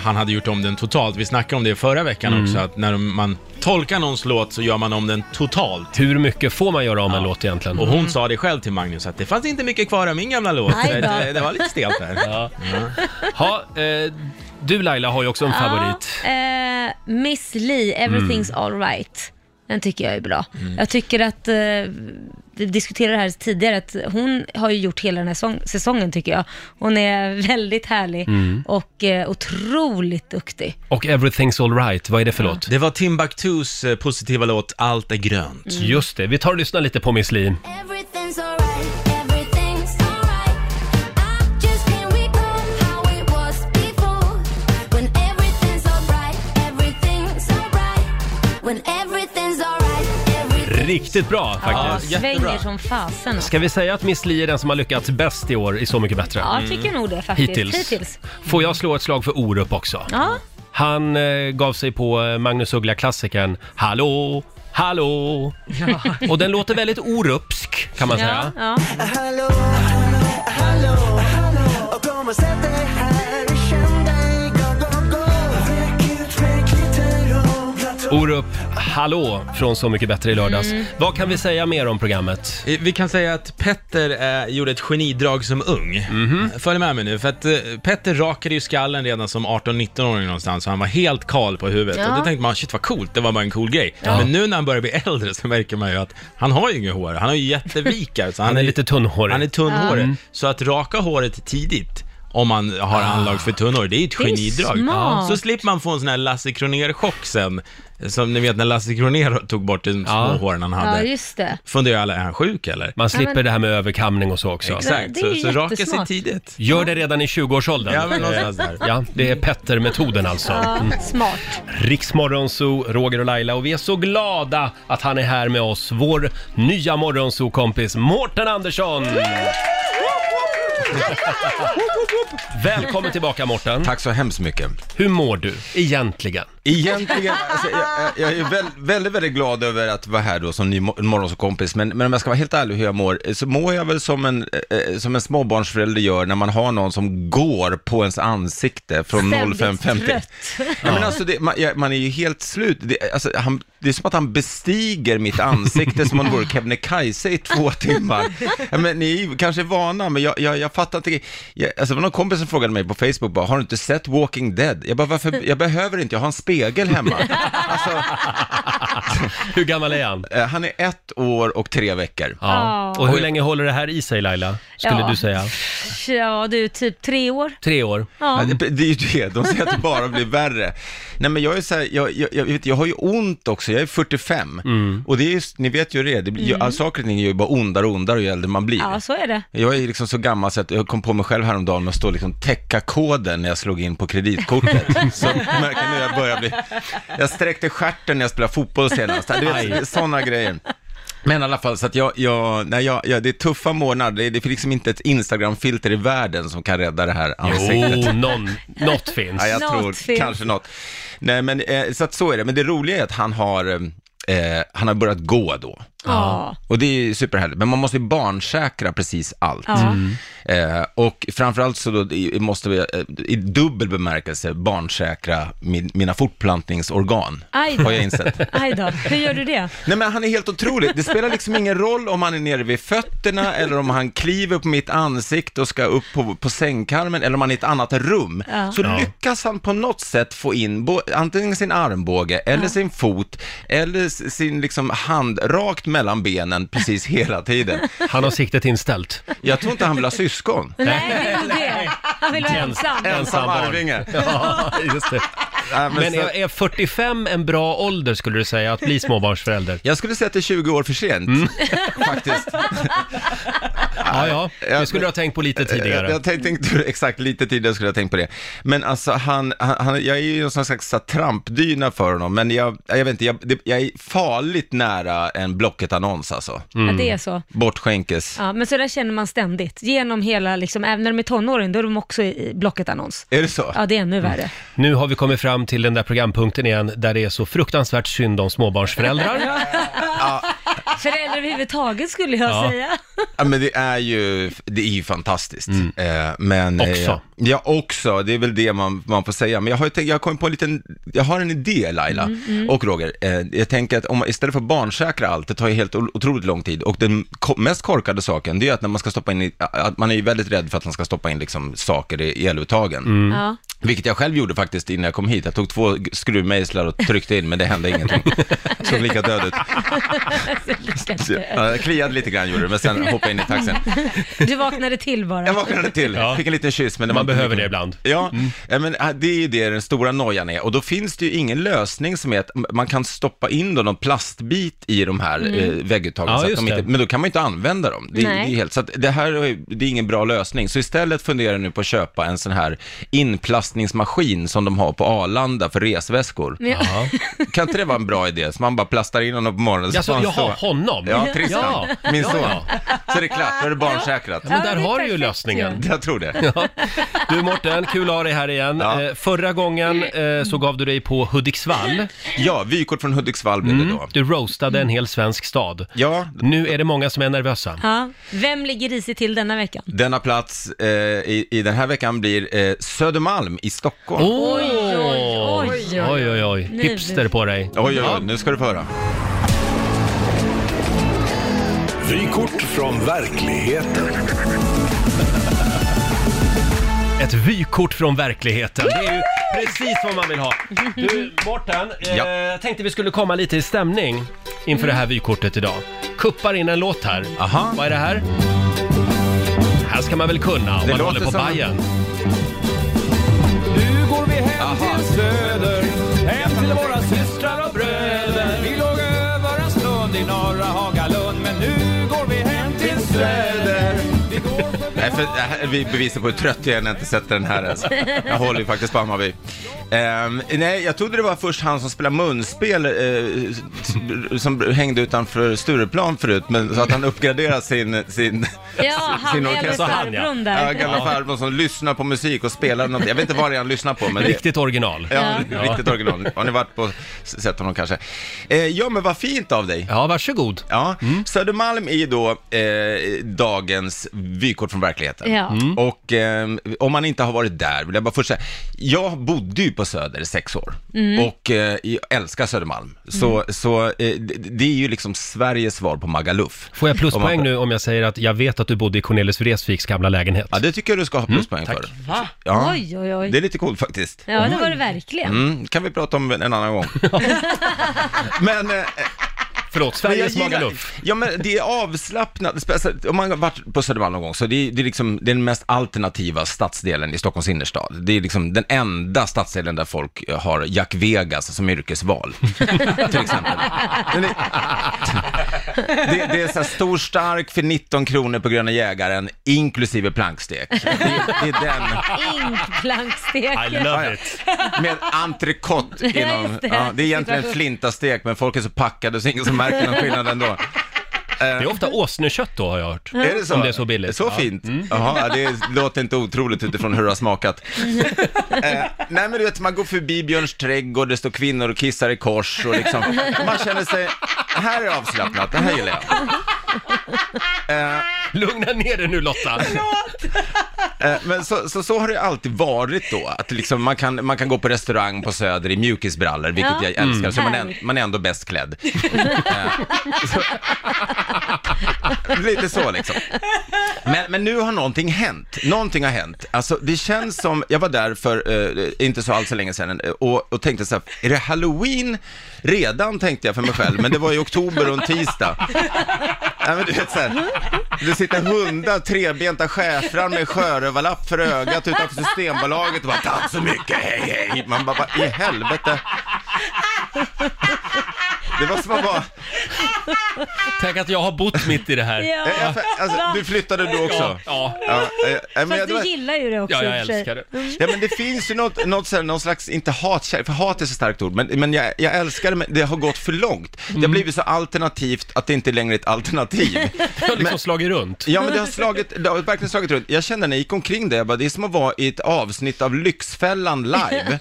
han hade gjort om den totalt. Vi snackade om det förra veckan också, att när man tolkar någons låt så gör man om den totalt. Hur mycket får man göra om en låt egentligen? Och hon sa det själv till Magnus att det fanns inte mycket kvar av min gamla låt. Aj då. Så att, eh, <laughs> Det var lite stelt där. Ha, eh, du Laila har ju också en favorit. Ja, eh, Miss Li, Everything's Alright. Den tycker jag är bra. Jag tycker att, eh, vi diskuterade det här tidigare, att hon har ju gjort hela den här sång- säsongen tycker jag. Hon är <laughs> väldigt härlig och eh, otroligt duktig. Och Everything's Alright, vad är det för låt? Det var Timbuktus eh, positiva låt Allt är grönt. Mm. Just det, vi tar och lyssnar lite på Miss Li. Everything's alright. riktigt bra faktiskt. Svänger som fasen. Ska vi säga att Miss Li är den som har lyckats bäst i år i Så mycket bättre? Ja, jag tycker nog det faktiskt. Hittills. Hittills. Får jag slå ett slag för Orup också? Ja. Han eh, gav sig på eh, Magnus Uggla-klassikern Hallå, hallå. Och den låter väldigt orupsk kan man säga. Ja, Hallå, hallå, hallå, hallå Och kom och sätt dig här och känn dig Gå, gå, gå Väck ut, väck lite ro Platå Orup, hallå från Så mycket bättre i lördags. Mm. Vad kan vi säga mer om programmet? Eh, Vi kan säga att Petter eh, gjorde ett genidrag som ung. Mhm. Följ med mig nu, för att eh, Petter rakade ju skallen redan som 18-19-åring någonstans, så han var helt kal på huvudet. Ja. Och då tänkte man, shit vad coolt, det var bara en cool grej. Men nu när han börjar bli äldre så märker man ju att han har ju inget hår, han har ju jättevikar. Så han, Han är lite tunnhårig. Mm. Han är tunnhårig. Så att raka håret tidigt, om man Ah. har anlag för tunnhår, det är ju ett är genidrag. smart. Så slipper man få en sån här Lasse Kronér-chock sen. Som ni vet när Lasse Kronér tog bort de små Ja. håren han hade ja just det. funderar alla, är han sjuk eller? Man slipper Ja, men- det här med överkamning och så också. Exakt, det är så, ju så raka sig jättesmart. tidigt. Gör det redan i 20-årsåldern. Ja, men någonstans där. Ja, det är Petter-metoden alltså. Ja, smart. Riksmorgonzoo, Roger och Laila och vi är så glada att han är här med oss. Vår nya morgonzoo-kompis Mårten Andersson! Välkommen tillbaka Mårten! Tack så hemskt mycket. Hur mår du egentligen? Egentligen, alltså, jag, jag är väl, väldigt, väldigt glad över att vara här då som ny mo- morgonsåkompis, men, men om jag ska vara helt ärlig hur jag mår, eh, så mår jag väl som en, eh, som en småbarnsförälder gör när man har någon som går på ens ansikte från Ständigt <laughs> 05.50. trött. Ja. Men alltså, det, man, jag, man är ju helt slut. Det, alltså, han, det är som att han bestiger mitt ansikte som om det vore Kebnekaise <laughs> i två timmar. Ja, men, ni är ju kanske vana, men jag, jag, jag fattar inte. Jag, alltså, det var någon kompis som frågade mig på Facebook, bara, har du inte sett Walking Dead? Jag bara, varför? Jag behöver inte, jag har en spegel hemma. <laughs> Alltså, Hur gammal är han? eh, han är ett år och tre veckor. Ja. Och hur länge håller det här i sig Laila? Skulle Ja. du säga? Ja, du, typ tre år. Tre år? Ja, Ja. det, det är ju det, de säger att det bara blir värre. Nej men jag är så här, jag, jag, jag, vet, jag har ju ont också, jag är 45. Mm. Och det är just, ni vet ju hur det, är. det blir, mm. saker och ting gör ju bara ondare och ondare ju äldre man blir. Ja, så är det. Jag är liksom så gammal så att jag kom på mig själv häromdagen med att stå och liksom täcka koden när jag slog in på kreditkortet. så jag märker nu jag börjar bli... Jag sträckte stjärten när jag spelade fotboll senast. Du vet, sådana grejer. Men i alla fall, så att jag, jag, nej, jag, jag det är tuffa månader. Det är, det finns liksom inte ett Instagram-filter i världen som kan rädda det här ansiktet. Jo, någon, något finns. Ja, jag Något tror finns. kanske något. Nej, men eh, så att så är det. Men det roliga är att han har, eh, han har börjat gå då. Ja. Och det är ju superhärligt. Men man måste ju barnsäkra precis allt. Ja. Eh, och framförallt så då i- måste vi eh, i dubbel bemärkelse barnsäkra min, mina fortplantningsorgan. Aj Har jag då. insett. Aj då. Hur gör du det? Nej men han är helt otrolig. Det spelar liksom ingen roll om han är nere vid fötterna eller om han kliver på mitt ansikte och ska upp på, på sängkarmen eller om han är i ett annat rum. Ja. Så lyckas han på något sätt få in bo- antingen sin armbåge eller sin fot eller s- sin liksom hand rakt mellan benen precis hela tiden. Han har siktet inställt. Jag tror inte han vill ha syskon. Nej, det är nog det. Han vill vara ensam. Ensam arvinge. Ja, just det. <laughs> Nej, men Men så- är är 45 en bra ålder skulle du säga att bli småbarnsförälder? Jag skulle säga att det är 20 år för sent, Mm. <laughs> faktiskt. Ja, ja. Det <laughs> Ja, skulle men- du ha tänkt på lite tidigare. Jag, jag tänkte inte exakt lite tidigare skulle jag tänkt på det. Men alltså han, han, han jag är ju någon slags så här trampdyna för honom, men jag, jag vet inte, jag, det, jag är farligt nära en Blocket-annons alltså. Mm. Ja, det är så. Bortskänkes. Ja, men så där känner man ständigt. Genom hela, liksom, även när de är tonåring, då är de också i i Blocket-annons. Är det så? Ja, det är ännu värre. Nu har vi kommit fram till den där programpunkten igen där det är så fruktansvärt synd om <laughs> småbarnsföräldrar. Föräldrar överhuvudtaget skulle jag Ja. säga. Ja, men det är ju, det är ju fantastiskt. Eh, men, eh, Också. ja, också. Det är väl det man, man får säga. Men jag har, ju tänkt, jag har kommit på en liten, jag har en idé Laila och Roger. Eh, jag tänker att om, man- istället för att barnsäkra allt, det tar ju helt o- otroligt lång tid. Och den ko- mest korkade saken, det är ju att när man ska stoppa in, i, att man är ju väldigt rädd för att man ska stoppa in liksom saker i eluttagen. Ja. <laughs> Vilket jag själv gjorde faktiskt innan jag kom hit. Jag tog två skruvmejslar och tryckte in, men det hände ingenting. Såg lika död ut. Så, ja, Jag kliade lite grann gjorde det, men sen hoppade jag in i taxin. Du vaknade till Jag bara. vaknade till, Ja. fick en liten kyss. Men det Man var inte behöver mycket. det ibland. Mm. Ja, ja, men äh, det är ju det den stora nojan är. Och då finns det ju ingen lösning som är att m- man kan stoppa in då någon plastbit i de här eh, vägguttagen. Ja, så att just de inte, det. men då kan man ju inte använda dem. Det, det är Nej. helt, så att det här är, det är ingen bra lösning. Så istället funderar jag nu på att köpa en sån här lastningsmaskin som de har på Arlanda för resväskor. Ja. Jaha. Kan inte det vara en bra idé? Så man bara plastar in honom på morgonen. Jaså, får han jaha, stå- honom? Ja, Tristan. Ja. Min Ja, son. ja. Så är det klart, då är det barnsäkrat. Ja, men där har du ju lösningen. Jag tror det. Ja. Du Mårten, kul att ha dig här igen. Eh, förra gången eh, så gav du dig på Hudiksvall. Ja, vykort från Hudiksvall blev det då. Du roastade en hel svensk stad. Ja. Nu är det många som är nervösa. Ja. Vem ligger risigt till denna veckan? Denna plats eh, i, i den här veckan blir eh, Södermalm i Stockholm. Oh. Oj, oj, oj, oj. Oj, oj, oj. Nu- Hipster på dig. Oj, oj, Ja. oj, nu ska du få höra. Vykort från verkligheten. Ett vykort från verkligheten. Det är ju precis vad man vill ha. Du, Mårten, eh, jag tänkte vi skulle komma lite i stämning inför Mm. det här vykortet idag. Kuppar in en låt här. Aha. Vad är det här? Här ska man väl kunna om Det man håller låter på som- Bajen. Nu går vi hem till söder, hem till våra systrar och bröder. Vi låg över en stund i norra Hagalund, men nu går vi hem till söder. Vi går förbi- Nej, för, det här- vi bevisar på hur trött jag är när jag inte sett den här ens. Jag håller ju faktiskt på Hammarby. Ehm, nej, jag trodde det var först han som spelade munspel, eh, s- som hängde utanför Stureplan förut, men så att han uppgraderar sin, sin, Ja, han sin är väl farbrorn där. Ja, gamla farbror som lyssnar på musik och spelar något. Jag vet inte vad det är han lyssnar på, men det, Riktigt original. Ja, <laughs> riktigt original. Har ni varit på, sett honom kanske? Eh, ja, men vad fint av dig. Ja, varsågod. Ja, Södermalm är ju då eh, dagens vykort från verkligheten. Ja. Mm. Och eh, om man inte har varit där, vill jag bara först säga, jag bodde ju på Söder i sex år Mm. och eh, jag älskar Södermalm. Så, så eh, det, det är ju liksom Sveriges svar på Magaluf. Får jag Om pluspoäng man- nu om jag säger att jag vet att du bodde i Cornelis Vreeswijks gamla lägenhet? Ja, det tycker jag du ska ha pluspoäng tack. för. Va? Ja, Oj, oj, oj. det är lite coolt faktiskt. Ja, det var det verkligen. Mm, kan vi prata om en <laughs> annan gång. Men eh, Förlåt, Men jag Sveriges gillar- Magaluf. Ja men det är avslappnat, speciellt om man har varit på Södermalm någon gång, så det är, det är liksom det är den mest alternativa stadsdelen i Stockholms innerstad. Det är liksom den enda stadsdelen där folk eh, har Jack Vegas <laughs> som yrkesval, till exempel. Men det- det, det är så här stor stark för 19 kronor på Gröna Jägaren, inklusive plankstek. Det, det är den. I Inkplanksteken. love it. Med entrecote inom... just det. Ja, det är egentligen ett flintastek, men folk är så packade så ingen som märker någon skillnad ändå. Det är ofta Eh. åsnekött då har jag hört. Är det så? Om det är så billigt. Så Ja. Mm. fint? Jaha, det låter inte otroligt utifrån hur det har smakat. eh, nej men du vet, man går förbi Björns trädgård, det står kvinnor och kissar i kors och liksom, man känner sig, här är avslappnat, det här gillar jag. Lugna ner dig nu <laughs> Lotta. Eh, Men så, så, så har det alltid varit då, att liksom man, kan, man kan gå på restaurang på Söder i mjukisbrallor, vilket Ja. jag älskar, Mm. så man är, Härligt. man är ändå bäst klädd. Eh, <laughs> så, lite så liksom. Men, men nu har någonting hänt, någonting har hänt. Alltså det känns som, jag var där för eh, inte så alls så länge sedan eh, och, och tänkte så här, är det halloween redan tänkte jag för mig själv, men det var i oktober och en tisdag. Nej, men du vet så här, det sitter hundar, trebenta schäfrar med sjörövarlapp för ögat utanför Systembolaget och bara tack så mycket, hej hej. Man bara, vad i helvete. Det var som att vara, Tänk att jag har bott mitt i det här. Ja. Eh, eh, alltså, du flyttade du också. Ja, ja. Ja, eh, eh, men Fast jag- det du var- gillar ju det också ja i jag och för sig. älskar det. Ja men det finns ju något, något så här, någon slags, inte hatkärlek, för hat är så starkt ord, men, men jag, jag älskar det, men det har gått för långt. Det har blivit så alternativt att det inte längre är ett alternativ. Jag har liksom slagit runt. Ja men det har slagit, det har verkligen slagit runt. Jag kände när jag gick omkring det, jag bara, det är som att vara i ett avsnitt av Lyxfällan live.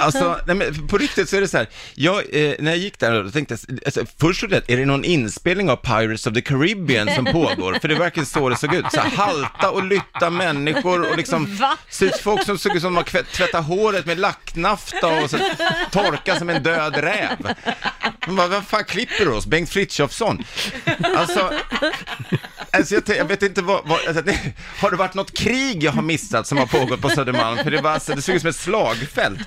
Alltså, nej men på riktigt så är det så här, jag, eh, när jag gick där, då tänkte jag, alltså, först trodde jag, är det någon inspelning av Pirates of the Caribbean som pågår? För det verkar så det såg ut, så här, halta och lytta människor och liksom, Va? så ut folk som såg ut som att de tvättade håret med lacknafta och så, torka som en död räv. Man bara, vem fan klipper oss? Bengt Frithiofsson? Alltså, Alltså jag, tän- jag vet inte vad, vad alltså, det, har det varit något krig jag har missat som har pågått på Södermalm? För det, var, alltså, det såg ut som ett slagfält.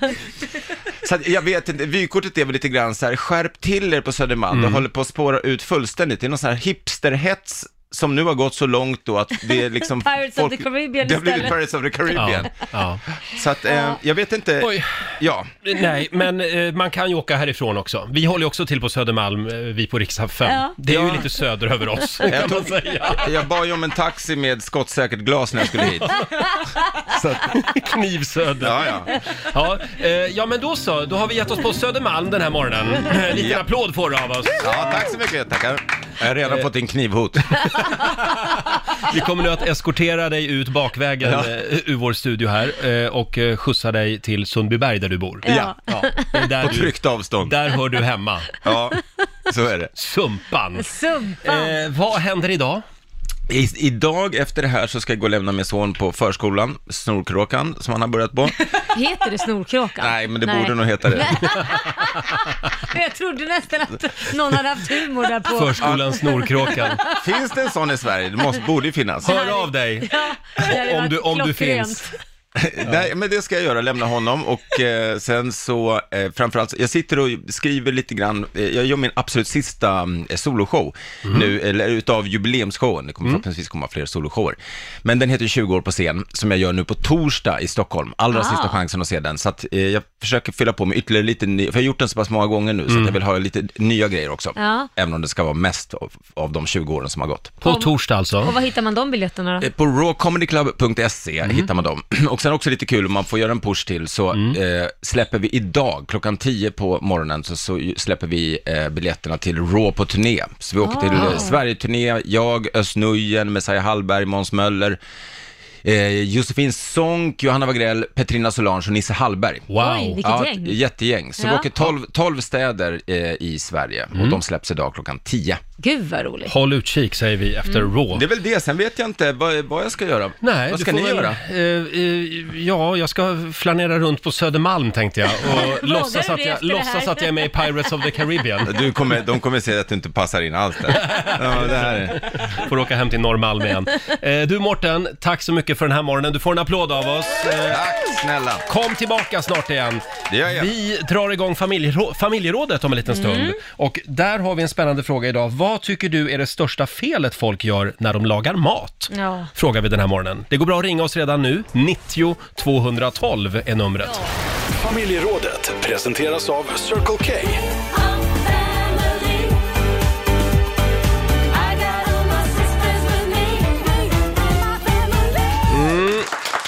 Så att, jag vet inte, vykortet är väl lite Mm. grann så här, skärp till er på Södermalm, det håller på att spåra ut fullständigt. Det är någon sån här hipsterhets som nu har gått så långt då att det är <laughs> liksom... Pirates of the Caribbean Det har blivit istället. Pirates of the Caribbean. Ja, ja. Så att, eh, jag vet inte... Oj. Ja. Nej, men eh, man kan ju åka härifrån också. Vi håller ju också till på Södermalm, eh, vi på riksdag 5. Ja. Det är ju Ja. lite söder över oss, kan <laughs> Jag, man tog, säga. jag bad ju om en taxi med skottsäkert glas när jag <laughs> skulle hit. Så att, Knivsöder. ja, ja. Ja, eh, ja, men då så. Då har vi gett oss på Södermalm den här morgonen. En liten <laughs> Ja. applåd får du av oss. ja, tack så mycket. Tackar. Jag har Eh. redan fått <laughs> in knivhot. Vi kommer nu att eskortera dig ut bakvägen Ja. eh, ur vår studio här eh, och eh, skjutsa dig till Sundbyberg där du bor. Ja. Det är där, På du, tryggt avstånd. Mm. där hör du hemma. Ja, så är det. Sumpan. Sumpan. Eh, vad händer idag? I, idag efter det här så ska jag gå och lämna min son på förskolan, Snorkråkan, som han har <laughs> börjat på. Heter det Snorkråkan? Nej, men det borde nog heta det. <laughs> Jag trodde nästan att någon hade haft humor där på. Förskolan <laughs> Snorkråkan. Finns det en sån i Sverige? Det måste, borde ju finnas. Hör av dig. Ja, det hade Om varit du- om du klockrent. finns. <laughs> Nej, men det ska jag göra, lämna honom och eh, sen så, eh, framförallt, jag sitter och skriver lite grann, eh, jag gör min absolut sista mm, soloshow nu, eller utav jubileumsshowen, det kommer förhoppningsvis komma fler soloshower. Men den heter 20 år på scen, som jag gör nu på torsdag i Stockholm, allra sista chansen att se den, så att eh, jag försöker fylla på med ytterligare lite, ny, för jag har gjort den så pass många gånger nu, så att jag vill ha lite nya grejer också, Ja. även om det ska vara mest av, av de 20 åren som har gått. På torsdag Och alltså. var hittar man de biljetterna då? Eh, På rawcomedyclub.se E Mhm. hittar man dem. <clears throat> Och sen också lite kul, om man får göra en push till, så Mm. eh, släpper vi idag, klockan 10 på morgonen, så, så ju- släpper vi eh, biljetterna till Raw på turné. Så vi åker till Ah. eh, Sverige-turné, jag, Özz Nujen, Messiah Hallberg, Måns Möller, eh, Josefin Sonck, Johanna Wagrell, Petrina Solange och Nisse Hallberg. Oj, Wow. vilket ja, gäng. ett jättegäng. Så vi Ja. åker 12, 12 städer eh, i Sverige Mm. och de släpps idag klockan 10. Gud vad roligt. Håll utkik säger vi efter Mm. Raw. Det är väl det, sen vet jag inte vad, vad jag ska göra. Nej, vad du ska får ni väl- göra? eh, eh, ja, jag ska flanera runt på Södermalm tänkte jag <laughs> och låtsas, du att det jag, efter det här? låtsas att jag är med i Pirates of the Caribbean. Du kommer, de kommer se att du inte passar in alls där. Ja, det här är. Får åka hem till Norrmalm igen. Eh, du Morten, tack så mycket för den här morgonen. Du får en applåd av oss. Eh, Tack snälla. Kom tillbaka snart igen. Det gör jag. Mm. Vi drar igång familjerå- familjerådet om en liten stund. Och där har vi en spännande fråga idag. Vad tycker du är det största felet folk gör när de lagar mat? Ja. Frågar vi den här morgonen. Det går bra att ringa oss redan nu. 90 212 är numret. Familjerådet presenteras av Circle K.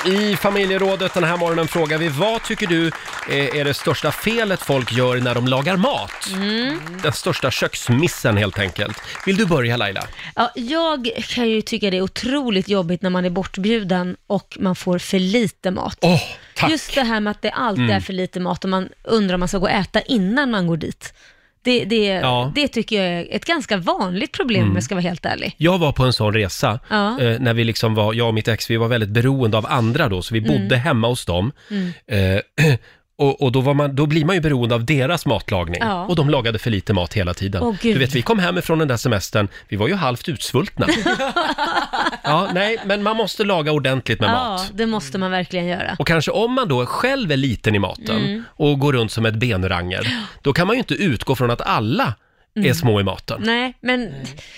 I familjerådet den här morgonen frågar vi vad tycker du eh, är det största felet folk gör när de lagar mat? Den största köksmissen helt enkelt. Vill du börja Laila? Ja, jag kan ju tycka det är otroligt jobbigt när man är bortbjuden och man får för lite mat. Åh, tack! Mm. Just det här med att det alltid är för lite mat och man undrar om man ska gå och äta innan man går dit. Det, det, Ja. Mm. det tycker jag är ett ganska vanligt problem om jag ska vara helt ärlig. Jag var på en sån resa Ja. eh, när vi liksom var, jag och mitt ex, vi var väldigt beroende av andra då, så Mm. vi bodde hemma hos dem. Eh, <clears throat> och och då, var man, då blir man ju beroende av deras matlagning. Ja. Och de lagade för lite mat hela tiden. Åh, Gud. du vet, vi kom hem ifrån den där semestern, vi var ju halvt <laughs> utsvultna. ja, nej, men man måste laga ordentligt med Ja, mat. Mm. det måste man verkligen göra. Och kanske om man då själv är liten i maten Mm. och går runt som ett benranger, då kan man ju inte utgå från att alla Mm. är små i maten. Nej, men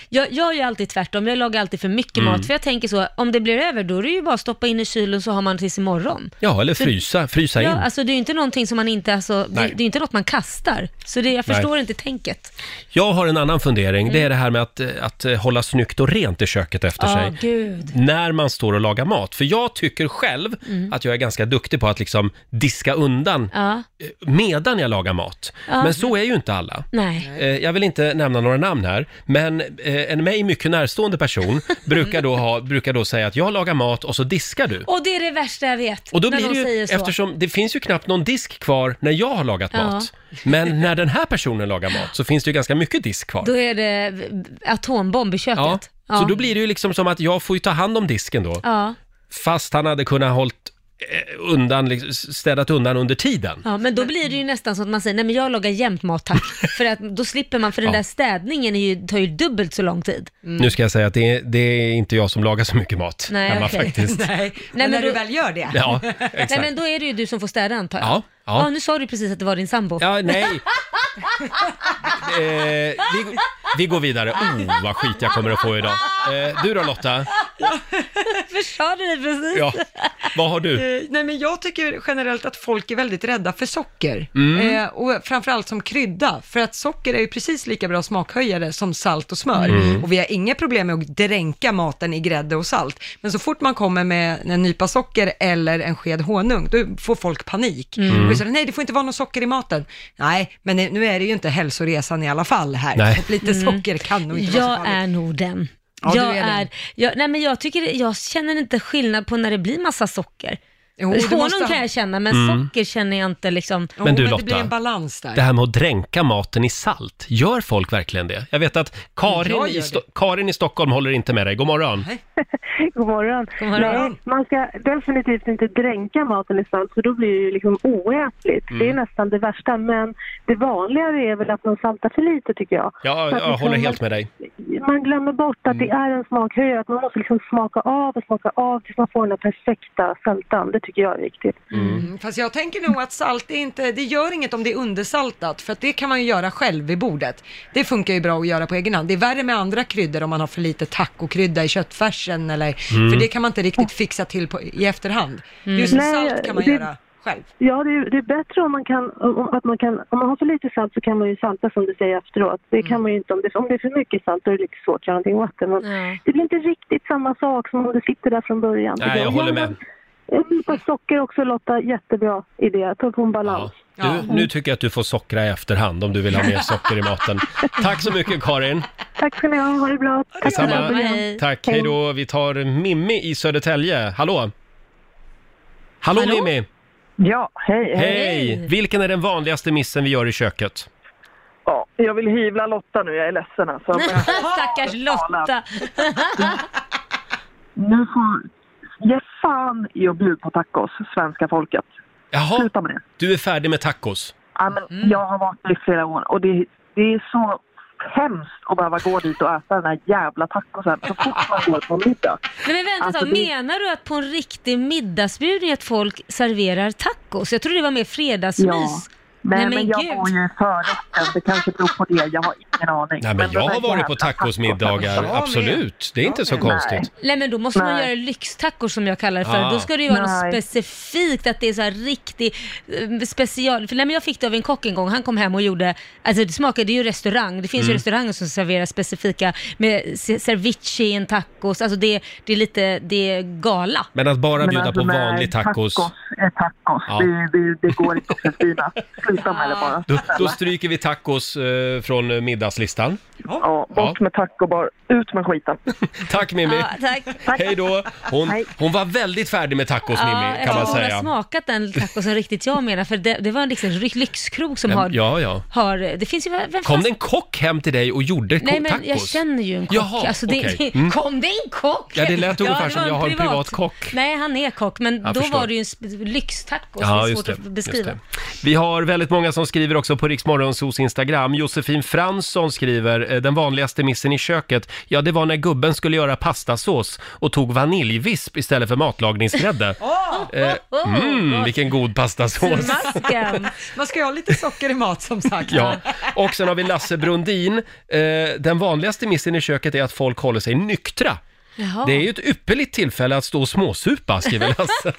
Jag, jag gör alltid tvärtom. Jag lagar alltid för mycket Mm. mat, för jag tänker så, om det blir över, då är det ju bara att stoppa in i kylen så har man tills imorgon. Ja, eller frysa, frysa in. Ja, alltså det är ju inte någonting som man inte, alltså, det, det Nej. är ju inte något man kastar. Så det, jag Nej. förstår inte tänket. Jag har en annan fundering. Det är det här med att, eh, att eh, hålla snyggt och rent i köket efter Mm. Ja, sig. gud. När man står och lagar mat. För jag tycker själv att jag är ganska duktig på att liksom diska undan Mm. Ja, eh, medan jag lagar mat. Men så är ju inte alla. nej. Eh, Jag vill inte nämna några namn här, men eh, en mig mycket närstående <laughs> person brukar då, ha, brukar då säga att jag lagar mat och så diskar du. Och det är det värsta jag vet, Och då när blir någon det ju, säger så. eftersom det finns ju knappt någon disk kvar när jag har lagat Ja. mat. Men när den här personen lagar mat så finns det ju ganska mycket disk kvar. Då är det atombomb i Ja. köket. Så då blir det ju liksom som att jag får ju ta hand om disken då. Ja. Fast han hade kunnat hållit eh, undan, liksom, städat undan under tiden. Ja, men då blir det ju nästan så att man säger, nej men jag lagar jämt <laughs> mat tack. för att då slipper man, för den Ja. där städningen är ju, tar ju dubbelt så lång tid. Nu ska jag säga att det är, det är inte jag som lagar så mycket mat Mm. Nej, hemma okej. <laughs> faktiskt. <laughs> Nej, men, men när då- du väl gör det. Ja, Nej exakt. men då är det ju du som får städa antar jag. Ja, ja. <laughs> nu sa du precis att det var din sambo. Ja, nej. eh, vi, vi går vidare. Oh, vad skit jag kommer att få idag. Eh, du då Lotta? Försörjde dig precis. Ja, vad har du? Eh, Nej, men jag tycker generellt att folk är väldigt rädda för socker. Mm. Eh, och framförallt som krydda, för att socker är ju precis lika bra smakhöjare som salt och smör. Mm. Och vi har inga problem med att dränka maten i grädde och salt. Men så fort man kommer med en nypa socker eller en sked honung, då får folk panik. Mm. Och så, nej, det får inte vara något socker i maten. Nej, men nu är det ju inte hälsoresan i alla fall här. Nej. Så att Lite socker kan nog inte vara så Jag farligt. är nog den. Ja, du jag, är den. jag, nej men jag, tycker, jag känner inte skillnad på när det blir massa socker. du måste Honung ha- kan jag känna, men Mm. socker känner jag inte liksom. Men du, men det blir Lotta, en balans där. Det här med att dränka maten i salt, gör folk verkligen det? Jag vet att Karin, Jag gör i, det. Sto- Karin i Stockholm håller inte med dig. God morgon. God morgon. morgon. Mm. Nej, man ska definitivt inte dränka maten i salt för då blir det ju liksom oätligt. Mm. Det är nästan det värsta, men det vanligare är väl att man saltar för lite tycker jag. Ja, Så att jag liksom håller man- helt med Mm. dig. Man glömmer bort att det är en smakhöjare, att man måste liksom smaka av och smaka av tills man får den här perfekta sältan. Det tycker jag är viktigt. Mm, Fast jag tänker nog att salt är inte, det gör inget om det är undersaltat, för att det kan man ju göra själv vid bordet. Det funkar ju bra att göra på egen hand. Det är värre med andra kryddor om man har för lite tacokrydda i köttfärsen eller, Mm. för det kan man inte riktigt fixa till på, i efterhand. Mm. Just med Nej, salt kan man det- göra själv. Ja, det är, det är bättre om man kan, om, att man kan, om man har för lite salt så kan man ju salta som du säger efteråt. Det Mm. kan man ju inte, om det, om det är för mycket salt då är det lite svårt att göra någonting åt det. Men det blir inte riktigt samma sak som om det sitter där från början. Nej, jag håller med. En nypa socker också Lotta, jättebra idé. Ta på en balans. Du, nu tycker jag att du får sockra i efterhand om du vill ha mer socker i maten. Tack så mycket Karin. Tack ska ni ha, ha det bra. Tack för att ni kom. Tack, hej då. Vi tar Mimmi i Södertälje. Hallå? Hallå, Hallå? Mimmi! Ja, hej, Hej! Vilken är den vanligaste missen vi gör i köket? Ja, jag vill hyvla Lotta nu, jag är ledsen <laughs> alltså. Men <laughs> Stackars Lotta. nu får ge fan i att bjuda på tacos, svenska folket. Jaha. Sluta med det. Du är färdig med tacos. Ja, men Mm. Jag har varit det i flera år och det, det är så hemskt att behöva gå dit och äta den här jävla tacosen så fort man går på middag. Nej, men vänta Alltså, ett tag. det- menar du att på en riktig middagsbjudning att folk serverar tacos? Jag trodde det var mer fredagsmys. Ja. Nej, men jag bor ju i förorten, det kanske beror på det. Jag har ingen aning. Nej, men den jag där har varit på jävla tacosmiddagar, tacosen. absolut. Det är inte så med. konstigt. Nej men då måste man Nej. göra lyxtacos som jag kallar det för. Ah. Då ska det ju vara något Nej. specifikt, att det är så här riktig eh, special. För, nej, men jag fick det av en kock en gång, han kom hem och gjorde, alltså det smakade ju restaurang. Det finns ju Mm. restauranger som serverar specifika med se- ceviche i en tacos, alltså det, det är lite, det är gala. Men att bara Men bjuda alltså, på nej, vanlig tacos, Tacos är tacos. Ja. Det, det, det går inte att förfina. Sluta med det bara. då, då stryker vi tacos eh, från eh, middagslistan. Ja, bort med tacobar. Ut med skiten. Tack Mimmi! tack. Hej då! Hon, hon var väldigt färdig med tacos Mimmi, kan man eftersom hon har säga. smakat den tacosen riktigt jag menar, för det, det var en liksom ry- lyxkrog som har, Ja, ja. har, det finns ju, vem Kom fan- det en kock hem till dig och gjorde ko- Nej men tacos? jag känner ju en kock. Jaha, alltså, det, <laughs> okej. Mm. Kom det en kock? Ja, det lät ungefär det som var jag en har en privat kock. Nej, han är kock, men Jag då förstår. var det ju en sp- lyxtacos. Ja, det är just svårt det, att just beskriva. det. Vi har väldigt många som skriver också på Riksmorgonsos Instagram. Josefin Fransson skriver, eh, den vanligaste missen i köket, ja det var när gubben skulle göra pastasås och tog vaniljvisp istället för <laughs> matlagningsgrädde. Oh, Eh, mm, vilken god pastasås! <laughs> Man ska ju ha lite socker i mat som sagt. Ja, och sen har vi Lasse Brundin. Eh, den vanligaste missen i köket är att folk håller sig nyktra. Jaha. Det är ju ett ypperligt tillfälle att stå och småsupa, skriver <laughs> Lasse.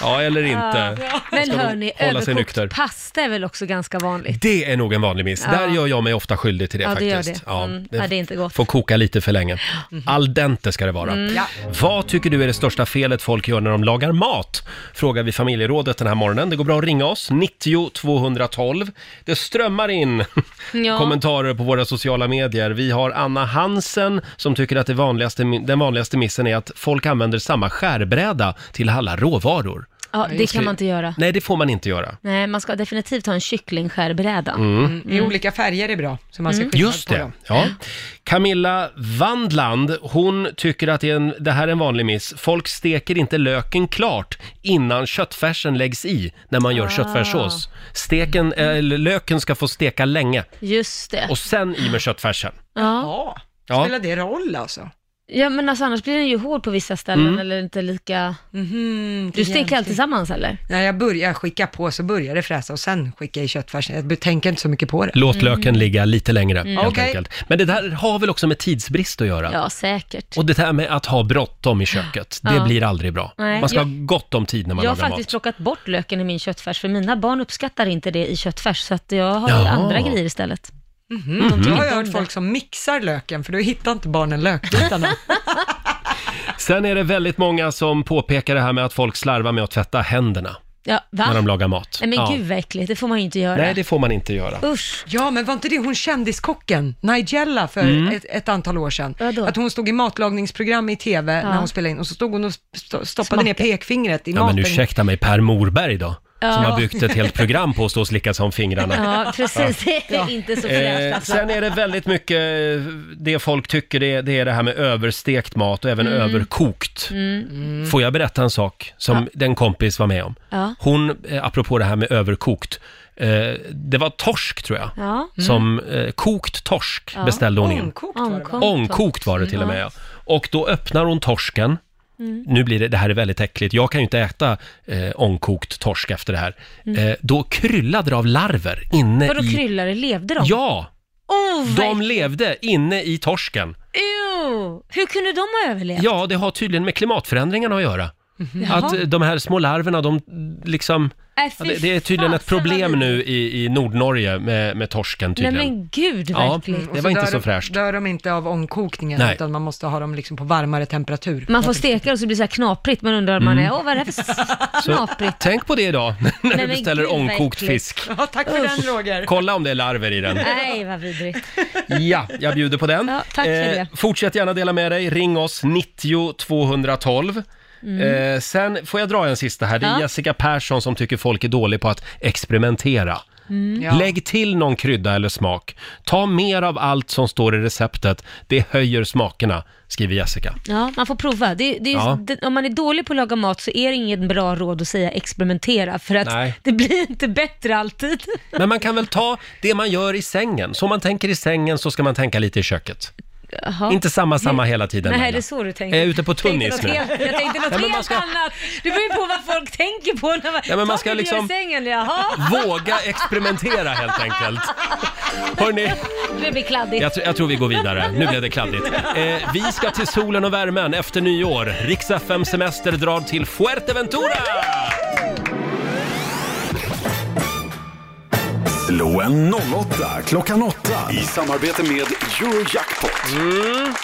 ja, eller inte. Ja. Man Men ska hörni, hålla sig nykter. överkokt pasta är väl också ganska vanligt? Det är nog en vanlig miss. Ja. Där gör jag mig ofta skyldig till det Ja, det faktiskt. gör det. Mm. Ja, det är inte gott. Får koka lite för länge. Al dente ska det vara. Mm. Ja. Vad tycker du är det största felet folk gör när de lagar mat? Frågar vi familjerådet den här morgonen. Det går bra att ringa oss, 90 212. Det strömmar in <laughs> Ja. kommentarer på våra sociala medier. Vi har Anna Hansen som tycker att det vanligaste, den vanligaste missen är att folk använder samma skärbräda till alla råvaror. Ja, det kan man inte göra. Nej, det får man inte göra. Nej, man ska definitivt ha en kycklingskärbräda. Mm. I olika färger är bra, så man ser Mm. skillnad Just på det. dem. Ja. Camilla Wandland, hon tycker att det, är en, det här är en vanlig miss. Folk steker inte löken klart innan köttfärsen läggs i när man gör Ah. köttfärssås. Steken, eh, eller löken ska få steka länge Just det. och sen i med köttfärsen. Ja. Ja. Spelar det roll alltså? Ja men alltså annars blir den ju hård på vissa ställen Mm. eller inte lika... du det steker allt jämnt. tillsammans eller? När jag börjar skicka på så börjar det fräsa och sen skickar jag i köttfärsen. Jag tänker inte så mycket på det. Låt löken ligga lite längre Mm. helt Okej. enkelt. Men det där har väl också med tidsbrist att göra? Ja, säkert. Och det här med att ha bråttom i köket, det Ja. blir aldrig bra. Nej. Man ska ha Jag- gott om tid när man Jag har lagar faktiskt mat. plockat bort löken i min köttfärs, för mina barn uppskattar inte det i köttfärs, så att jag har Jaha. andra grejer istället. Mm. Då har jag hört folk som mixar löken, för då hittar inte barnen lökbitarna. Sen är det väldigt många som påpekar det här med att folk slarvar med att tvätta händerna Ja, va? när de lagar mat. Nej men Ja. gud vad äckligt, det får man ju inte göra. Nej, det får man inte göra. Usch. <laughs> Ja, men var inte det hon kändiskocken, Nigella, för Mm. ett, ett antal år sedan? Att hon stod i matlagningsprogram i TV när hon spelade in och så stod hon och st- stoppade ner pekfingret i Ja, maten. men ursäkta mig, Per Morberg då? Ja. Som har byggt ett helt program på att stå och slicka sig om <laughs> fingrarna. Ja, precis. <laughs> Det är inte så fräscht Eh, alltså. sen är det väldigt mycket, eh, det folk tycker det, det är det här med överstekt mat och även Mm. överkokt. Mm. Får jag berätta en sak som den kompis var med om? Ja. Hon, eh, apropå det här med överkokt, eh, det var torsk tror jag. Ja. Mm. Som eh, kokt torsk Ja. beställde hon in. Ångkokt var det va? Ångkokt var det till och med ja. Och då öppnar hon torsken. Mm. Nu blir det, det här är väldigt äckligt, jag kan ju inte äta eh, ångkokt torsk efter det här. Mm. Eh, då kryllade det av larver inne Vadå i... kryllare, levde de? Ja! Oh, vad De levde inne i torsken. Ew. Hur kunde de ha överlevt? Ja, det har tydligen med klimatförändringarna att göra. Jaha. Att eh, de här små larverna, de liksom... Äh, ja, fy Det, det är tydligen ett fasen, vad problem vidrigt. nu i, i Nordnorge med, med torsken Nej tydligen. men gud Ja, vad äckligt. det var inte så fräscht. Dör de inte av ångkokningen, Nej. utan man måste ha dem liksom på varmare temperatur. Man får steka och så blir det så här knaprigt, man undrar man Mm. är, åh vad är det här för s- Så knaprigt? tänk på det idag <laughs> när du men beställer gud, vad ångkokt äckligt. fisk. Ja, tack för Usch. den Roger. Kolla om det är larver i den. <laughs> Nej vad vidrigt. Ja, jag bjuder på den. Eh, Ja, tack för det. Fortsätt gärna dela med dig. Ring oss, 90 212. Mm. Eh, sen får jag dra en sista här. Det är Ja. Jessica Persson som tycker folk är dåliga på att experimentera. Mm. Lägg till någon krydda eller smak. Ta mer av allt som står i receptet. Det höjer smakerna, skriver Jessica. Ja, man får prova. Det, det är ju, Ja. det, om man är dålig på att laga mat så är det inget bra råd att säga experimentera, för att Nej. det blir inte bättre alltid. Men man kan väl ta det man gör i sängen. Så man tänker i sängen så ska man tänka lite i köket. Jaha. Inte samma, samma hela tiden. Nej, Laila. det är så du tänker. Jag är ute på tunn Tänkte is något nu. helt- Jag <laughs> tänkte något Ja, men man helt ska- annat. Det beror ju på vad folk tänker på när man, Ja, men man Ta ska det du gör liksom- i <laughs> sängen. Jaha, Våga experimentera helt enkelt. Hörrni, det blir kladdigt. jag, tr- jag tror vi går vidare. Nu blev det kladdigt. Eh, vi ska till solen och värmen efter nyår. Rix FM Semester drar till Fuerteventura! Slå en 08 klockan 8 i samarbete med Eurojackpot. Mm.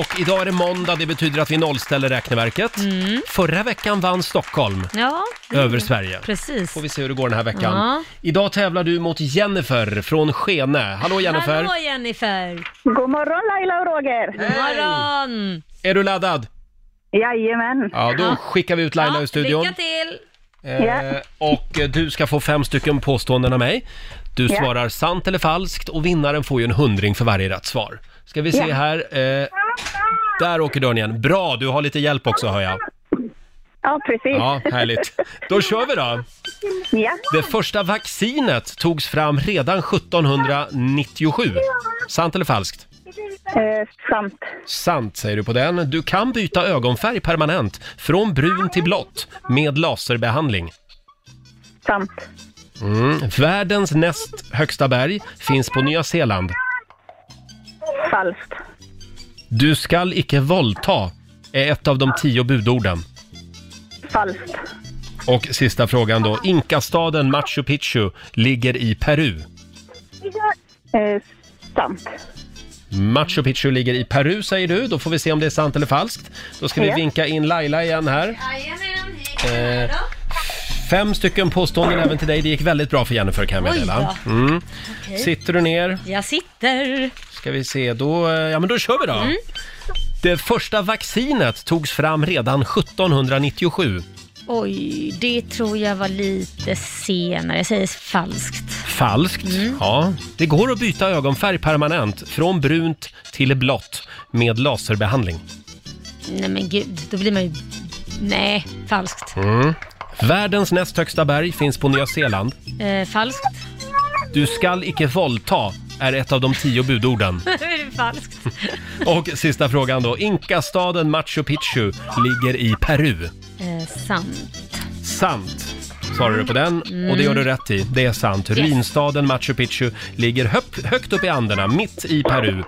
Och idag är det måndag, det betyder att vi nollställer räkneverket. Mm. Förra veckan vann Stockholm Ja, över Sverige. Precis. Får vi se hur det går den här veckan. Ja. Idag tävlar du mot Jennifer från Skene. Hallå Jennifer! Hallå Jennifer! God morgon Laila och Roger! God morgon! Är du laddad? Jajamän! Ja, då skickar vi ut Laila ur studion. Lycka till! Eh, och eh, du ska få fem stycken påståenden av mig. Du Ja. svarar sant eller falskt och vinnaren får ju en hundring för varje rätt svar. Ska vi se Ja. här. Eh, där åker dörren igen. Bra, du har lite hjälp också hör jag. Ja, precis. Ja, <laughs> härligt. Då kör vi då. Ja. Det första vaccinet togs fram redan 1797. Sant eller falskt? Eh, sant. Sant säger du på den. Du kan byta ögonfärg permanent från brun till blått med laserbehandling. Sant. Mm. Världens näst högsta berg finns på Nya Zeeland. Falskt. Du skall icke våldta är ett av de tio budorden. Falskt. Och sista frågan då. Inkastaden Machu Picchu ligger i Peru. Eh, sant. Machu Picchu ligger i Peru säger du. Då får vi se om det är sant eller falskt. Då ska vi Ja. vinka in Laila igen här. Eh, fem stycken påståenden även till dig. Det gick väldigt bra för Jennifer kan jag Oj meddela. då. Mm. Okej. Sitter du ner? Jag sitter. Ska vi se, då, eh, ja, men då kör vi då. Mm. Det första vaccinet togs fram redan 1797. Oj, det tror jag var lite senare. Jag säger falskt. Falskt. Mm. Ja. Det går att byta ögonfärg permanent från brunt till blått med laserbehandling. Nej men gud, då blir man ju... Nej, falskt. Mm. Världens näst högsta berg finns på Nya Zeeland. Eh, falskt. <laughs> Du skall icke våldta är ett av de tio budorden. <laughs> falskt. falskt. Och sista frågan då. Inkastaden Machu Picchu ligger i Peru. Eh, sant. Sant. Svarar du på den? Mm. Och det gör du rätt i. Det är sant. Yes. Ruinstaden Machu Picchu ligger höp, högt upp i Anderna, mitt i Peru.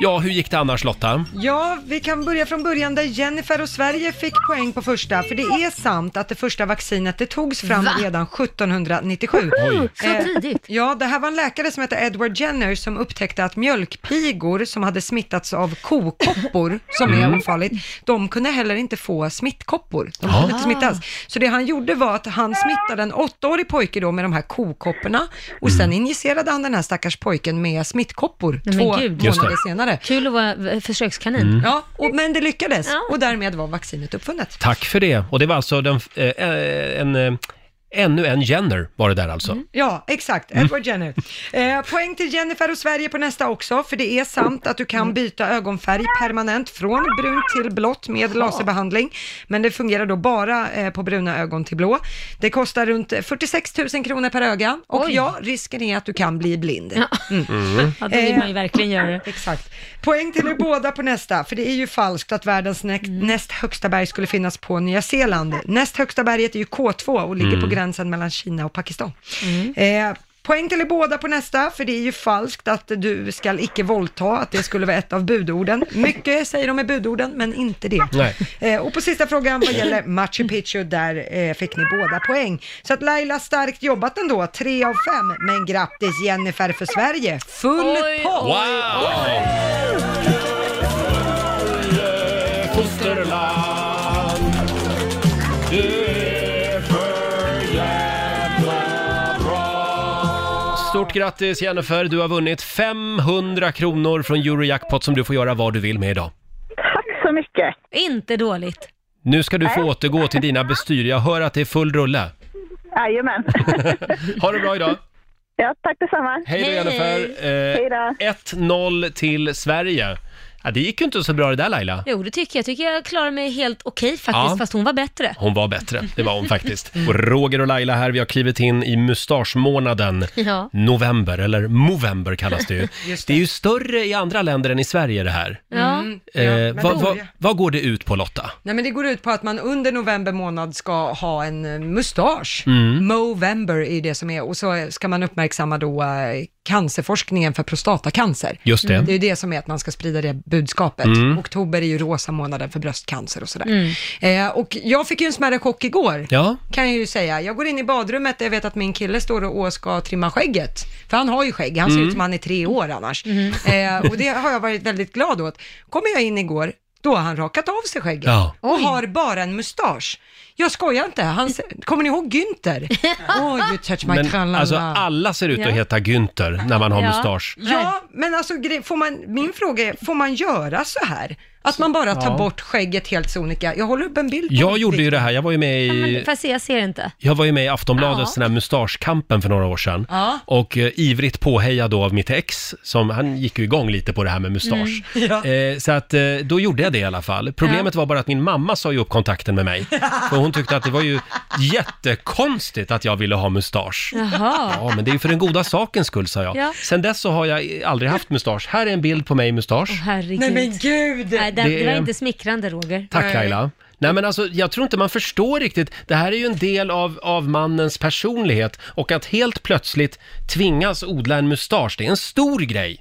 Ja, hur gick det annars Lotta? Ja, vi kan börja från början där Jennifer och Sverige fick poäng på första, för det är sant att det första vaccinet det togs fram Va? redan 1797. Oj. Så Eh, tidigt. Ja, det här var en läkare som hette Edward Jenner som upptäckte att mjölkpigor som hade smittats av kokoppor, som är Mm. ofarligt, de kunde heller inte få smittkoppor. De Ah. kunde inte smittas. Så det han gjorde var att han smittade en åttaårig pojke då med de här kokopporna och sen injicerade han den här stackars pojken med smittkoppor Mm. Nej, men två gud. Just det. månader senare. Kul att vara eh, försökskanin. Mm. Ja, och, men det lyckades och därmed var vaccinet uppfunnet. Tack för det. Och det var alltså den, eh, eh, en, eh, ännu en Jenner var det där alltså. Ja, exakt. Edward Jenner. Eh, poäng till Jennifer och Sverige på nästa också, för det är sant att du kan byta ögonfärg permanent från brunt till blått med laserbehandling. Men det fungerar då bara eh, på bruna ögon till blå. Det kostar runt 46 000 kronor per öga och Oj. ja, risken är att du kan bli blind. Mm. Ja, då vill man ju verkligen göra det. Exakt. Poäng till er båda på nästa, för det är ju falskt att världens nä- Mm. näst högsta berg skulle finnas på Nya Zeeland. Näst högsta berget är ju K2 och ligger Mm. på gränsen mellan Kina och Pakistan. Eh, Poäng till er båda på nästa, för det är ju falskt att du ska icke våldta, att det skulle vara ett av budorden. Mycket säger de är budorden, men inte det. Nej. Eh, och på sista frågan vad gäller Machu Picchu, där eh, fick ni båda poäng. Så att Laila starkt jobbat ändå, tre av fem. Men grattis Jennifer för Sverige, full pott! Fosterland Du är för jävla bra Stort grattis Jennifer, du har vunnit 500 kronor från Eurojackpot som du får göra vad du vill med idag. Så mycket. Inte dåligt. Nu ska du få återgå till dina bestyr. Jag hör att det är full rulle. <laughs> Jajamän. Ha det bra idag! Ja, tack detsamma. Hej då Jennifer! Eh, Hej då. 1-0 till Sverige. Ja, det gick ju inte så bra det där Laila. Jo, det tycker jag. Jag tycker jag klarar mig helt okej faktiskt, Ja. fast hon var bättre. Hon var bättre, det var hon faktiskt. Och Roger och Laila här, vi har klivit in i mustaschmånaden. Ja. November, eller Movember kallas <laughs> det ju. det. är ju större i andra länder än i Sverige det här. Ja. Eh, Men vad, då- vad, vad går det ut på Lotta? Nej men det går ut på att man under november månad ska ha en eh, mustasch. Mm. Movember är ju det som är, och så ska man uppmärksamma då eh, cancerforskningen för prostatacancer. Just Mm, det. Det är ju det som är att man ska sprida det budskapet. Mm. Oktober är ju rosa månaden för bröstcancer och sådär. Mm. Eh, och jag fick ju en smärre chock igår. Ja. Kan jag ju säga. Jag går in i badrummet där jag vet att min kille står och och ska trimma skägget. För han har ju skägg, han ser Mm. ut som han är tre år annars. Eh, och det har jag varit väldigt glad åt. Kommer jag in igår, då har han rakat av sig skägget Ja. och har bara en mustasch. Jag skojar inte, han, ser- kommer ni <laughs> ihåg Günther? Oh, you touch my Men tralala. alltså alla ser ut Ja. att heta Günther när man har ja. mustasch. Ja, men alltså gre- får man, min fråga är, får man göra så här? Att man bara tar Ja. bort skägget helt sonika? Jag håller upp en bild på Jag mitt gjorde ju riktigt. det här, jag var ju med i, Men, fast jag ser inte. jag var ju med i Aftonbladets Ja. den här mustaschkampen för några år sedan. Ja. Och eh, ivrigt påhejad då av mitt ex, som, han gick ju igång lite på det här med mustasch. Mm, <laughs> Eh, så att eh, då gjorde jag det i alla fall. Problemet var bara att min mamma sa ju upp kontakten med <laughs> mig. För hon tyckte att det var ju jättekonstigt att jag ville ha mustasch. Jaha. Ja, men det är ju för den goda sakens skull, sa jag. Ja. Sen dess så har jag aldrig haft mustasch. Här är en bild på mig i mustasch. Herregud. Nej men gud! Nej, det, det Det var är- inte smickrande Roger. Tack Laila. Nej men alltså, jag tror inte man förstår riktigt. Det här är ju en del av, av mannens personlighet och att helt plötsligt tvingas odla en mustasch, det är en stor grej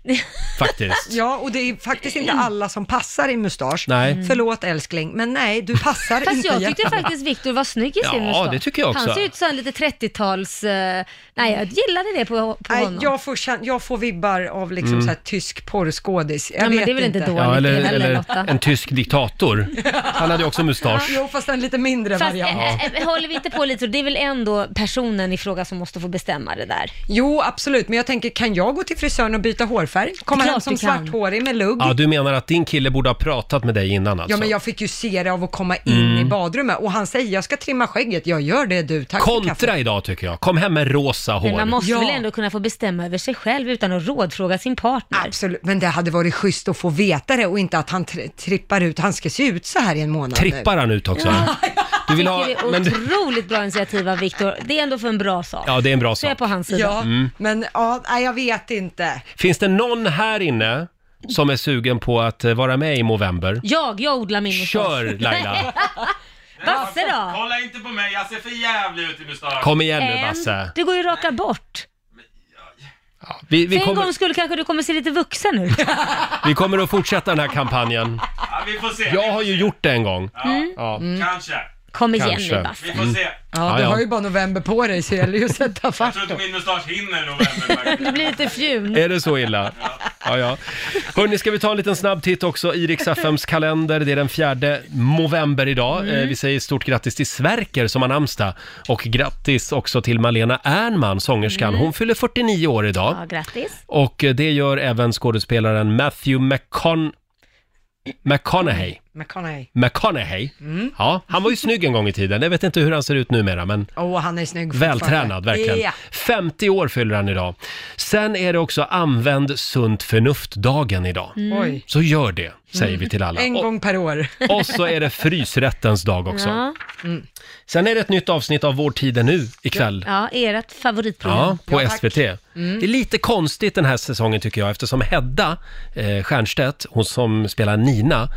faktiskt. Ja, och det är faktiskt inte alla som passar i mustasch. Nej. Mm. Förlåt älskling, men nej, du passar <laughs> Fast inte jag tyckte jättebra. faktiskt Victor var snygg i sin Ja, mustasch. det tycker jag också. Han ser ut som en lite 30-tals... eh, nej, jag gillade det på, på Nej, honom. jag får, kän- jag får vibbar av liksom Mm. så här tysk porrskådis. Jag Ja, men vet det är väl inte dåligt Ja, eller, heller, eller Lotta. en tysk diktator. Han hade ju också mustasch. Jo, fast en lite mindre Fast variant. eh, eh, håller vi inte på lite, det är väl ändå personen i fråga som måste få bestämma det där. Jo, absolut, men jag tänker, kan jag gå till frisören och byta hårfärg? Komma Klart hem som du kan. svarthårig med lugg? Ja, du menar att din kille borde ha pratat med dig innan Ja, alltså? men jag fick ju se det av att komma in Mm. i badrummet och han säger, jag ska trimma skägget. Jag gör det du, tack för kaffet. Kontra idag tycker jag. Kom hem med rosa Men man hår. måste väl ändå kunna få bestämma över sig själv utan att rådfråga sin partner. Absolut, men det hade varit schysst att få veta det och inte att han tri- trippar ut. Han ska se ut så här i en månad nu. Trippar han ut också? Du vill ha... Det är Men, otroligt bra initiativ av Viktor. Det är ändå för en bra sak. ja, det är en bra Så jag är sak. på hans sida. Mm. Men ja, nej, jag vet inte. Finns det någon här inne som är sugen på att eh, vara med i Movember? Jag, jag odlar min mustasch. Kör, Laila. Basse då? Kolla inte på mig, jag ser för jävlig ut i mustasch. Kom igen nu, En. Basse. Det går ju att raka bort. Vi, vi, För en kommer, gång skulle kanske du kommer se lite vuxen ut. vi kommer att fortsätta den här kampanjen. Ja, vi får se. Jag har ju gjort det en gång. Mm. Ja. Kanske. Kom igen Kanske. nu Basse. Vi får se. Ja, Ja, du ja. har ju bara november på dig så det gäller ju att sätta fart. <laughs> Jag tror inte min mustasch hinner november. Det blir lite fjun. Är det så illa? Ja, ja. Hörni, ska vi ta en liten snabb titt också i Rix FMs kalender. Det är den fjärde november idag. Mm. Eh, Vi säger stort grattis till Sverker som har namnsdag. Och grattis också till Malena Ernman, sångerskan. Mm. Hon fyller 49 år idag. Ja, grattis. Och eh, det gör även skådespelaren Matthew McCon... McConaughey. McConaughey. McConaughey. Mm. Ja, han var ju snygg en gång i tiden. Jag vet inte hur han ser ut numera, men Åh, han är snygg fortfarande. Vältränad, verkligen. Ja. 50 år fyller han idag. Sen är det också använd sunt förnuft-dagen idag. Mm. Oj. Så gör det, säger vi till alla. En Och, gång per år. och så är det frysrättens dag också. Mm. Sen är det ett nytt avsnitt av Vår tid är nu ikväll. Ja, ert favoritprogram. Ja, på tack. SVT. Mm. Det är lite konstigt den här säsongen tycker jag eftersom Hedda eh, Stiernstedt, hon som spelar Nina,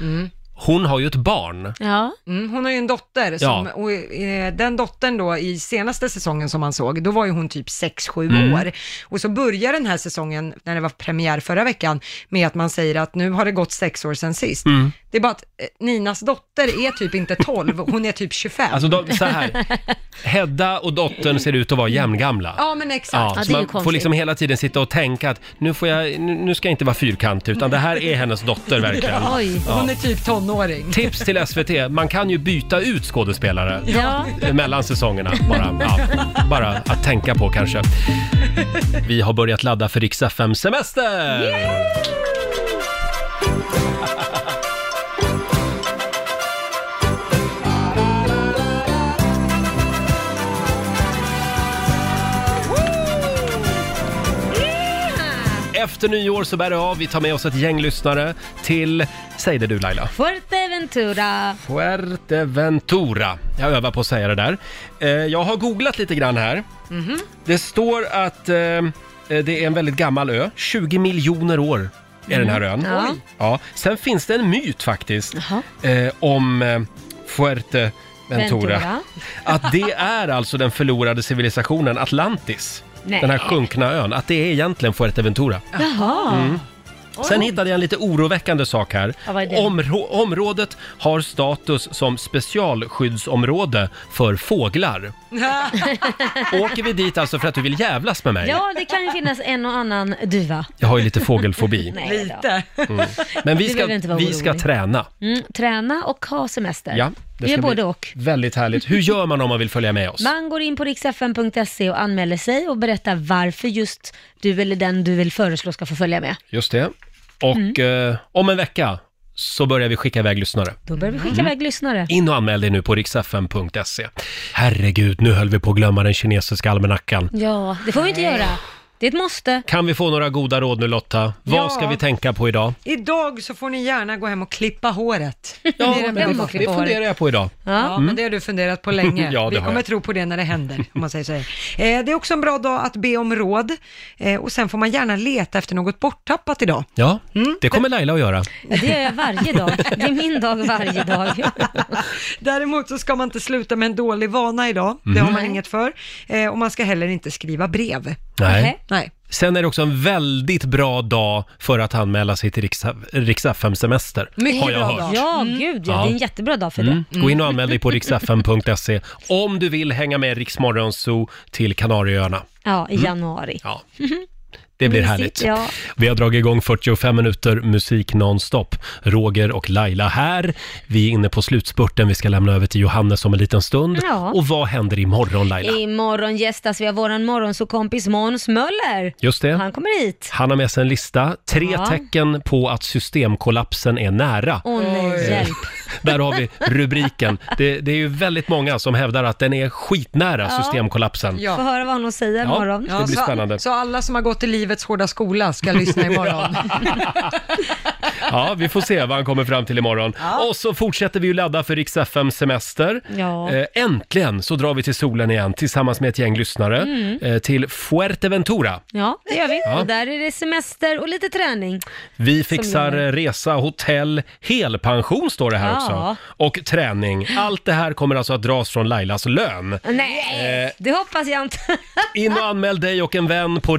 hon har ju ett barn. Ja. Mm, hon har ju en dotter, som, Ja. och, eh, den dottern då i senaste säsongen som man såg, då var ju hon typ 6-7 Mm. år. Och så börjar den här säsongen, när det var premiär förra veckan, med att man säger att nu har det gått 6 år sedan sist. Mm. Det är bara att eh, Ninas dotter är typ <laughs> inte 12, hon är typ 25. Alltså de, så här, <laughs> Hedda och dottern ser ut att vara jämngamla. Ja men exakt. så man får liksom hela tiden sitta och tänka att nu, får jag, nu, nu ska jag inte vara fyrkantig utan det här är hennes dotter verkligen. <laughs> Ja, Ja. Hon är <laughs> typ tonåring. <laughs> Tips till SVT, man kan ju byta ut skådespelare Ja. mellan säsongerna. Bara, ja, bara att tänka på kanske. Vi har börjat ladda för Rix FM semester Efter nyår så bär det av. Vi tar med oss ett gäng lyssnare till, säg det du Laila. Fuerteventura. Fuerteventura. Jag övar på att säga det där. Eh, Jag har googlat lite grann här. Mhm. Det står att eh, det är en väldigt gammal ö. 20 miljoner år är den här ön. Mm. Ja. Oj. Ja. Sen finns det en myt faktiskt eh, om eh, Fuerteventura. Ventura. <laughs> Att det är alltså den förlorade civilisationen Atlantis. Nej. Den här sjunkna ön. Att det är egentligen Fuerteventura. Jaha. Mm. Oj. Sen hittade jag en lite oroväckande sak här. Ja, vad är det? Områ- området har status som specialskyddsområde för <laughs> fåglar. Åker vi dit alltså för att du vill jävlas med mig? Ja, det kan ju finnas en och annan duva. Jag har ju lite fågelfobi. <laughs> Nej då. Mm. Men vi Du ska, behöver inte vara vi ska orolig. träna. Mm, träna och ha semester. Ja, det är ska både bli och. Väldigt härligt. Hur gör man om man vill följa med oss? Man går in på riksfn.se och anmäler sig och berättar varför just du eller den du vill föreslå ska få följa med. Just det. Och Mm. eh, om en vecka så börjar vi skicka iväg lyssnare. Då börjar vi skicka Mm. iväg lyssnare. In och anmäl dig nu på riksfn.se. Herregud, nu höll vi på att glömma den kinesiska almanackan. Ja, det får vi inte göra. Det är ett måste. Kan vi få några goda råd nu Lotta? Vad Ja. ska vi tänka på idag? Idag så får ni gärna gå hem och klippa håret. Ja, gå hem och klippa Det funderar jag på idag. Ja, Mm. men det har du funderat på länge. <laughs> Ja, det Vi har kommer jag. tro på det när det händer, om man säger så. här. Eh, det är också en bra dag att be om råd eh, och sen får man gärna leta efter något borttappat idag. Ja, Mm. det kommer Laila att göra. Det gör jag varje dag. Det är min dag varje dag. Däremot så ska man inte sluta med en dålig vana idag. Det Mm. har man Mhm. inget för. Eh, och man ska heller inte skriva brev. Nej. Nej. Sen är det också en väldigt bra dag för att anmäla sig till Riks-FM semester. Mycket har jag bra hört. dag. Ja, gud ja, Ja. Det är en jättebra dag för Mm. det. Gå in och anmäl dig på riksfm.se E om du vill hänga med Riksmorgon Zoo till Kanarieöarna. Ja, i Mm. januari. Ja. Det blir Mysigt, härligt. Mhm. ja. Vi har dragit igång 45 minuter musik nonstop. Roger och Laila här. Vi är inne på slutspurten. Vi ska lämna över till Johannes om en liten stund. Ja. Eh, Och vad händer imorgon Laila? Imorgon gästas vi av våran morgonsåkompis Måns Möller. Just det. Han kommer hit. Han har med sig en lista. Tre Ja. tecken på att systemkollapsen är nära. Åh nej, Eh, hjälp. <laughs> Där har vi rubriken. Det, det är ju väldigt många som hävdar att den är skitnära Ja. systemkollapsen. Får höra vad honom säger Ja, imorgon. det blir så, spännande. Så alla som har gått i livets hårda skola <laughs> ska lyssna imorgon. Ja, vi får se vad han kommer fram till imorgon. Och så fortsätter vi ju ladda för Rix FM semester. Ja. Eh, Äntligen så drar vi till solen igen tillsammans med ett gäng lyssnare Mm. eh, till Fuerteventura. Ja, det gör vi. Ja. Och där är det semester och lite träning. Vi Som fixar gäller. eh, resa, hotell, helpension står det här Ja. också. Och träning. Allt det här kommer alltså att dras från Lailas lön. Nej, Eh. det hoppas jag inte. In och anmäl dig och en vän på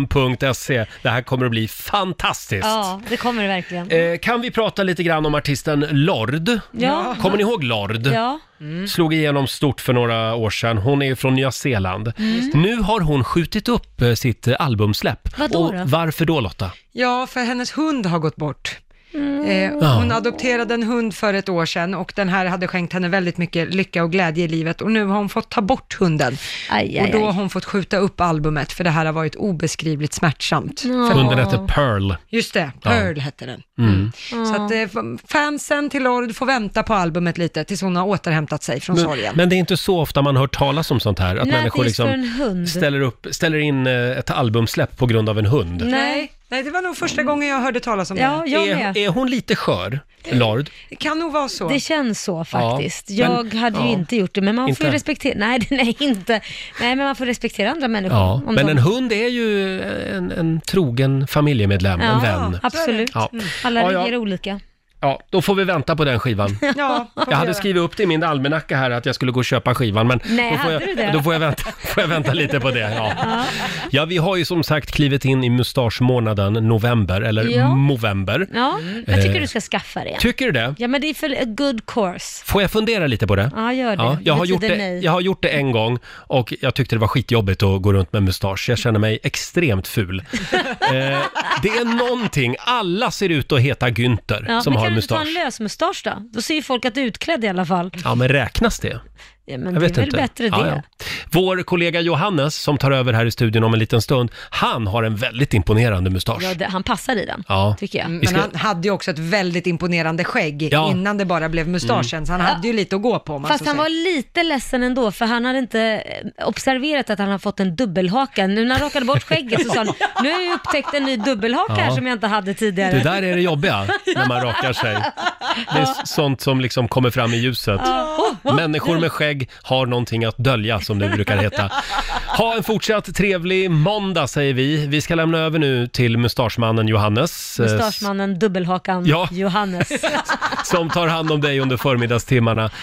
riksfm.se. Det här kommer att bli fantastiskt. ja, det kommer det verkligen. Eh, kan vi prata lite grann om artisten Lord? Ja. Kommer ni ihåg Lord? Ja. Mm. Slog igenom stort för några år sedan. Hon är ju från Nya Zeeland. Mm. Nu har hon skjutit upp eh, sitt eh, albumsläpp. Vadå och då? varför då Lotta? Ja, för hennes hund har gått bort. Eh, Ja. hon adopterade en hund för ett år sedan och den här hade skänkt henne väldigt mycket lycka och glädje i livet och nu har hon fått ta bort hunden. aj, och då har aj. hon fått skjuta upp albumet för det här har varit obeskrivligt smärtsamt. Mm. för Hunden hon. hette Pearl. Just det, Ja. Pearl hette den. Mm. Så att eh, fansen till Lord får vänta på albumet lite tills hon har återhämtat sig från sorgen. Men, men det är inte så ofta man hör talas om sånt här. Att Nej, människor just för en liksom hund. ställer, upp, ställer in eh, ett albumsläpp på grund av en hund. Nej, nej, det var nog första Mm. gången jag hörde talas om det. är, är hon lite skör, Lord? Det kan nog vara så. Det känns så faktiskt. men- jag hade ju ja. inte gjort det, men man får Inte? ju respektera... <laughs> Nej, det- nej, inte. Nej, men man får respektera andra människor. Ja, om men de- en hund är ju en, en trogen familjemedlem, en vän. Absolut. Mm. Ja. Alla Ja, ja. reagerar olika. ja, då får vi vänta på den skivan. Ja, Jag hade skrivit upp det i min almanacka här att jag skulle gå och köpa skivan, men Nej, då, får hade du det? jag, då får, jag vänta, <laughs> får jag vänta lite på det. Ja. ja, vi har ju som sagt klivit in i mustaschmånaden november, eller Ja. november. Ja, jag tycker Eh, du ska skaffa det. Tycker du det? Ja, men det är för a good course. Får jag fundera lite på det? Ja, gör det. jag, har gjort betyder det nej. jag har gjort det en gång och jag tyckte det var skitjobbigt att gå runt med mustasch. Jag känner mig extremt <laughs> ful. eh, det är någonting, alla ser ut att heta Günther Ja, som men har kan du mustasch. inte ta en lösmustasch då? Då ser ju folk att du är utklädd i alla fall. Ja, men räknas det? Ja, men jag det vet är väl inte. bättre Ja, det. ja. Vår kollega Johannes som tar över här i studion om en liten stund, han har en väldigt imponerande mustasch. Ja, det, han passar i den, Ja. tycker jag. Vi ska- Mm, Men han hade ju också ett väldigt imponerande skägg Ja. innan det bara blev mustaschen, Mm. så han hade ju lite att gå på. om man Fast så han säger. var lite ledsen ändå, för han hade inte eh, observerat att han hade fått en dubbelhaka. Nu när han rakade bort skägget så sa <laughs> han, nu har jag upptäckt en ny dubbelhaka här Ja. som jag inte hade tidigare. Det där är det jobbiga när man rakar sig. Det är s- sånt som liksom kommer fram i ljuset. Ja. Människor med skägg har någonting att dölja, som det brukar heta. Ha en fortsatt trevlig måndag, säger vi. Vi ska lämna över nu till mustaschmannen Johannes. eh, Mustaschmannen, dubbelhakan, Ja. Johannes. Som tar hand om dig under förmiddagstimmarna.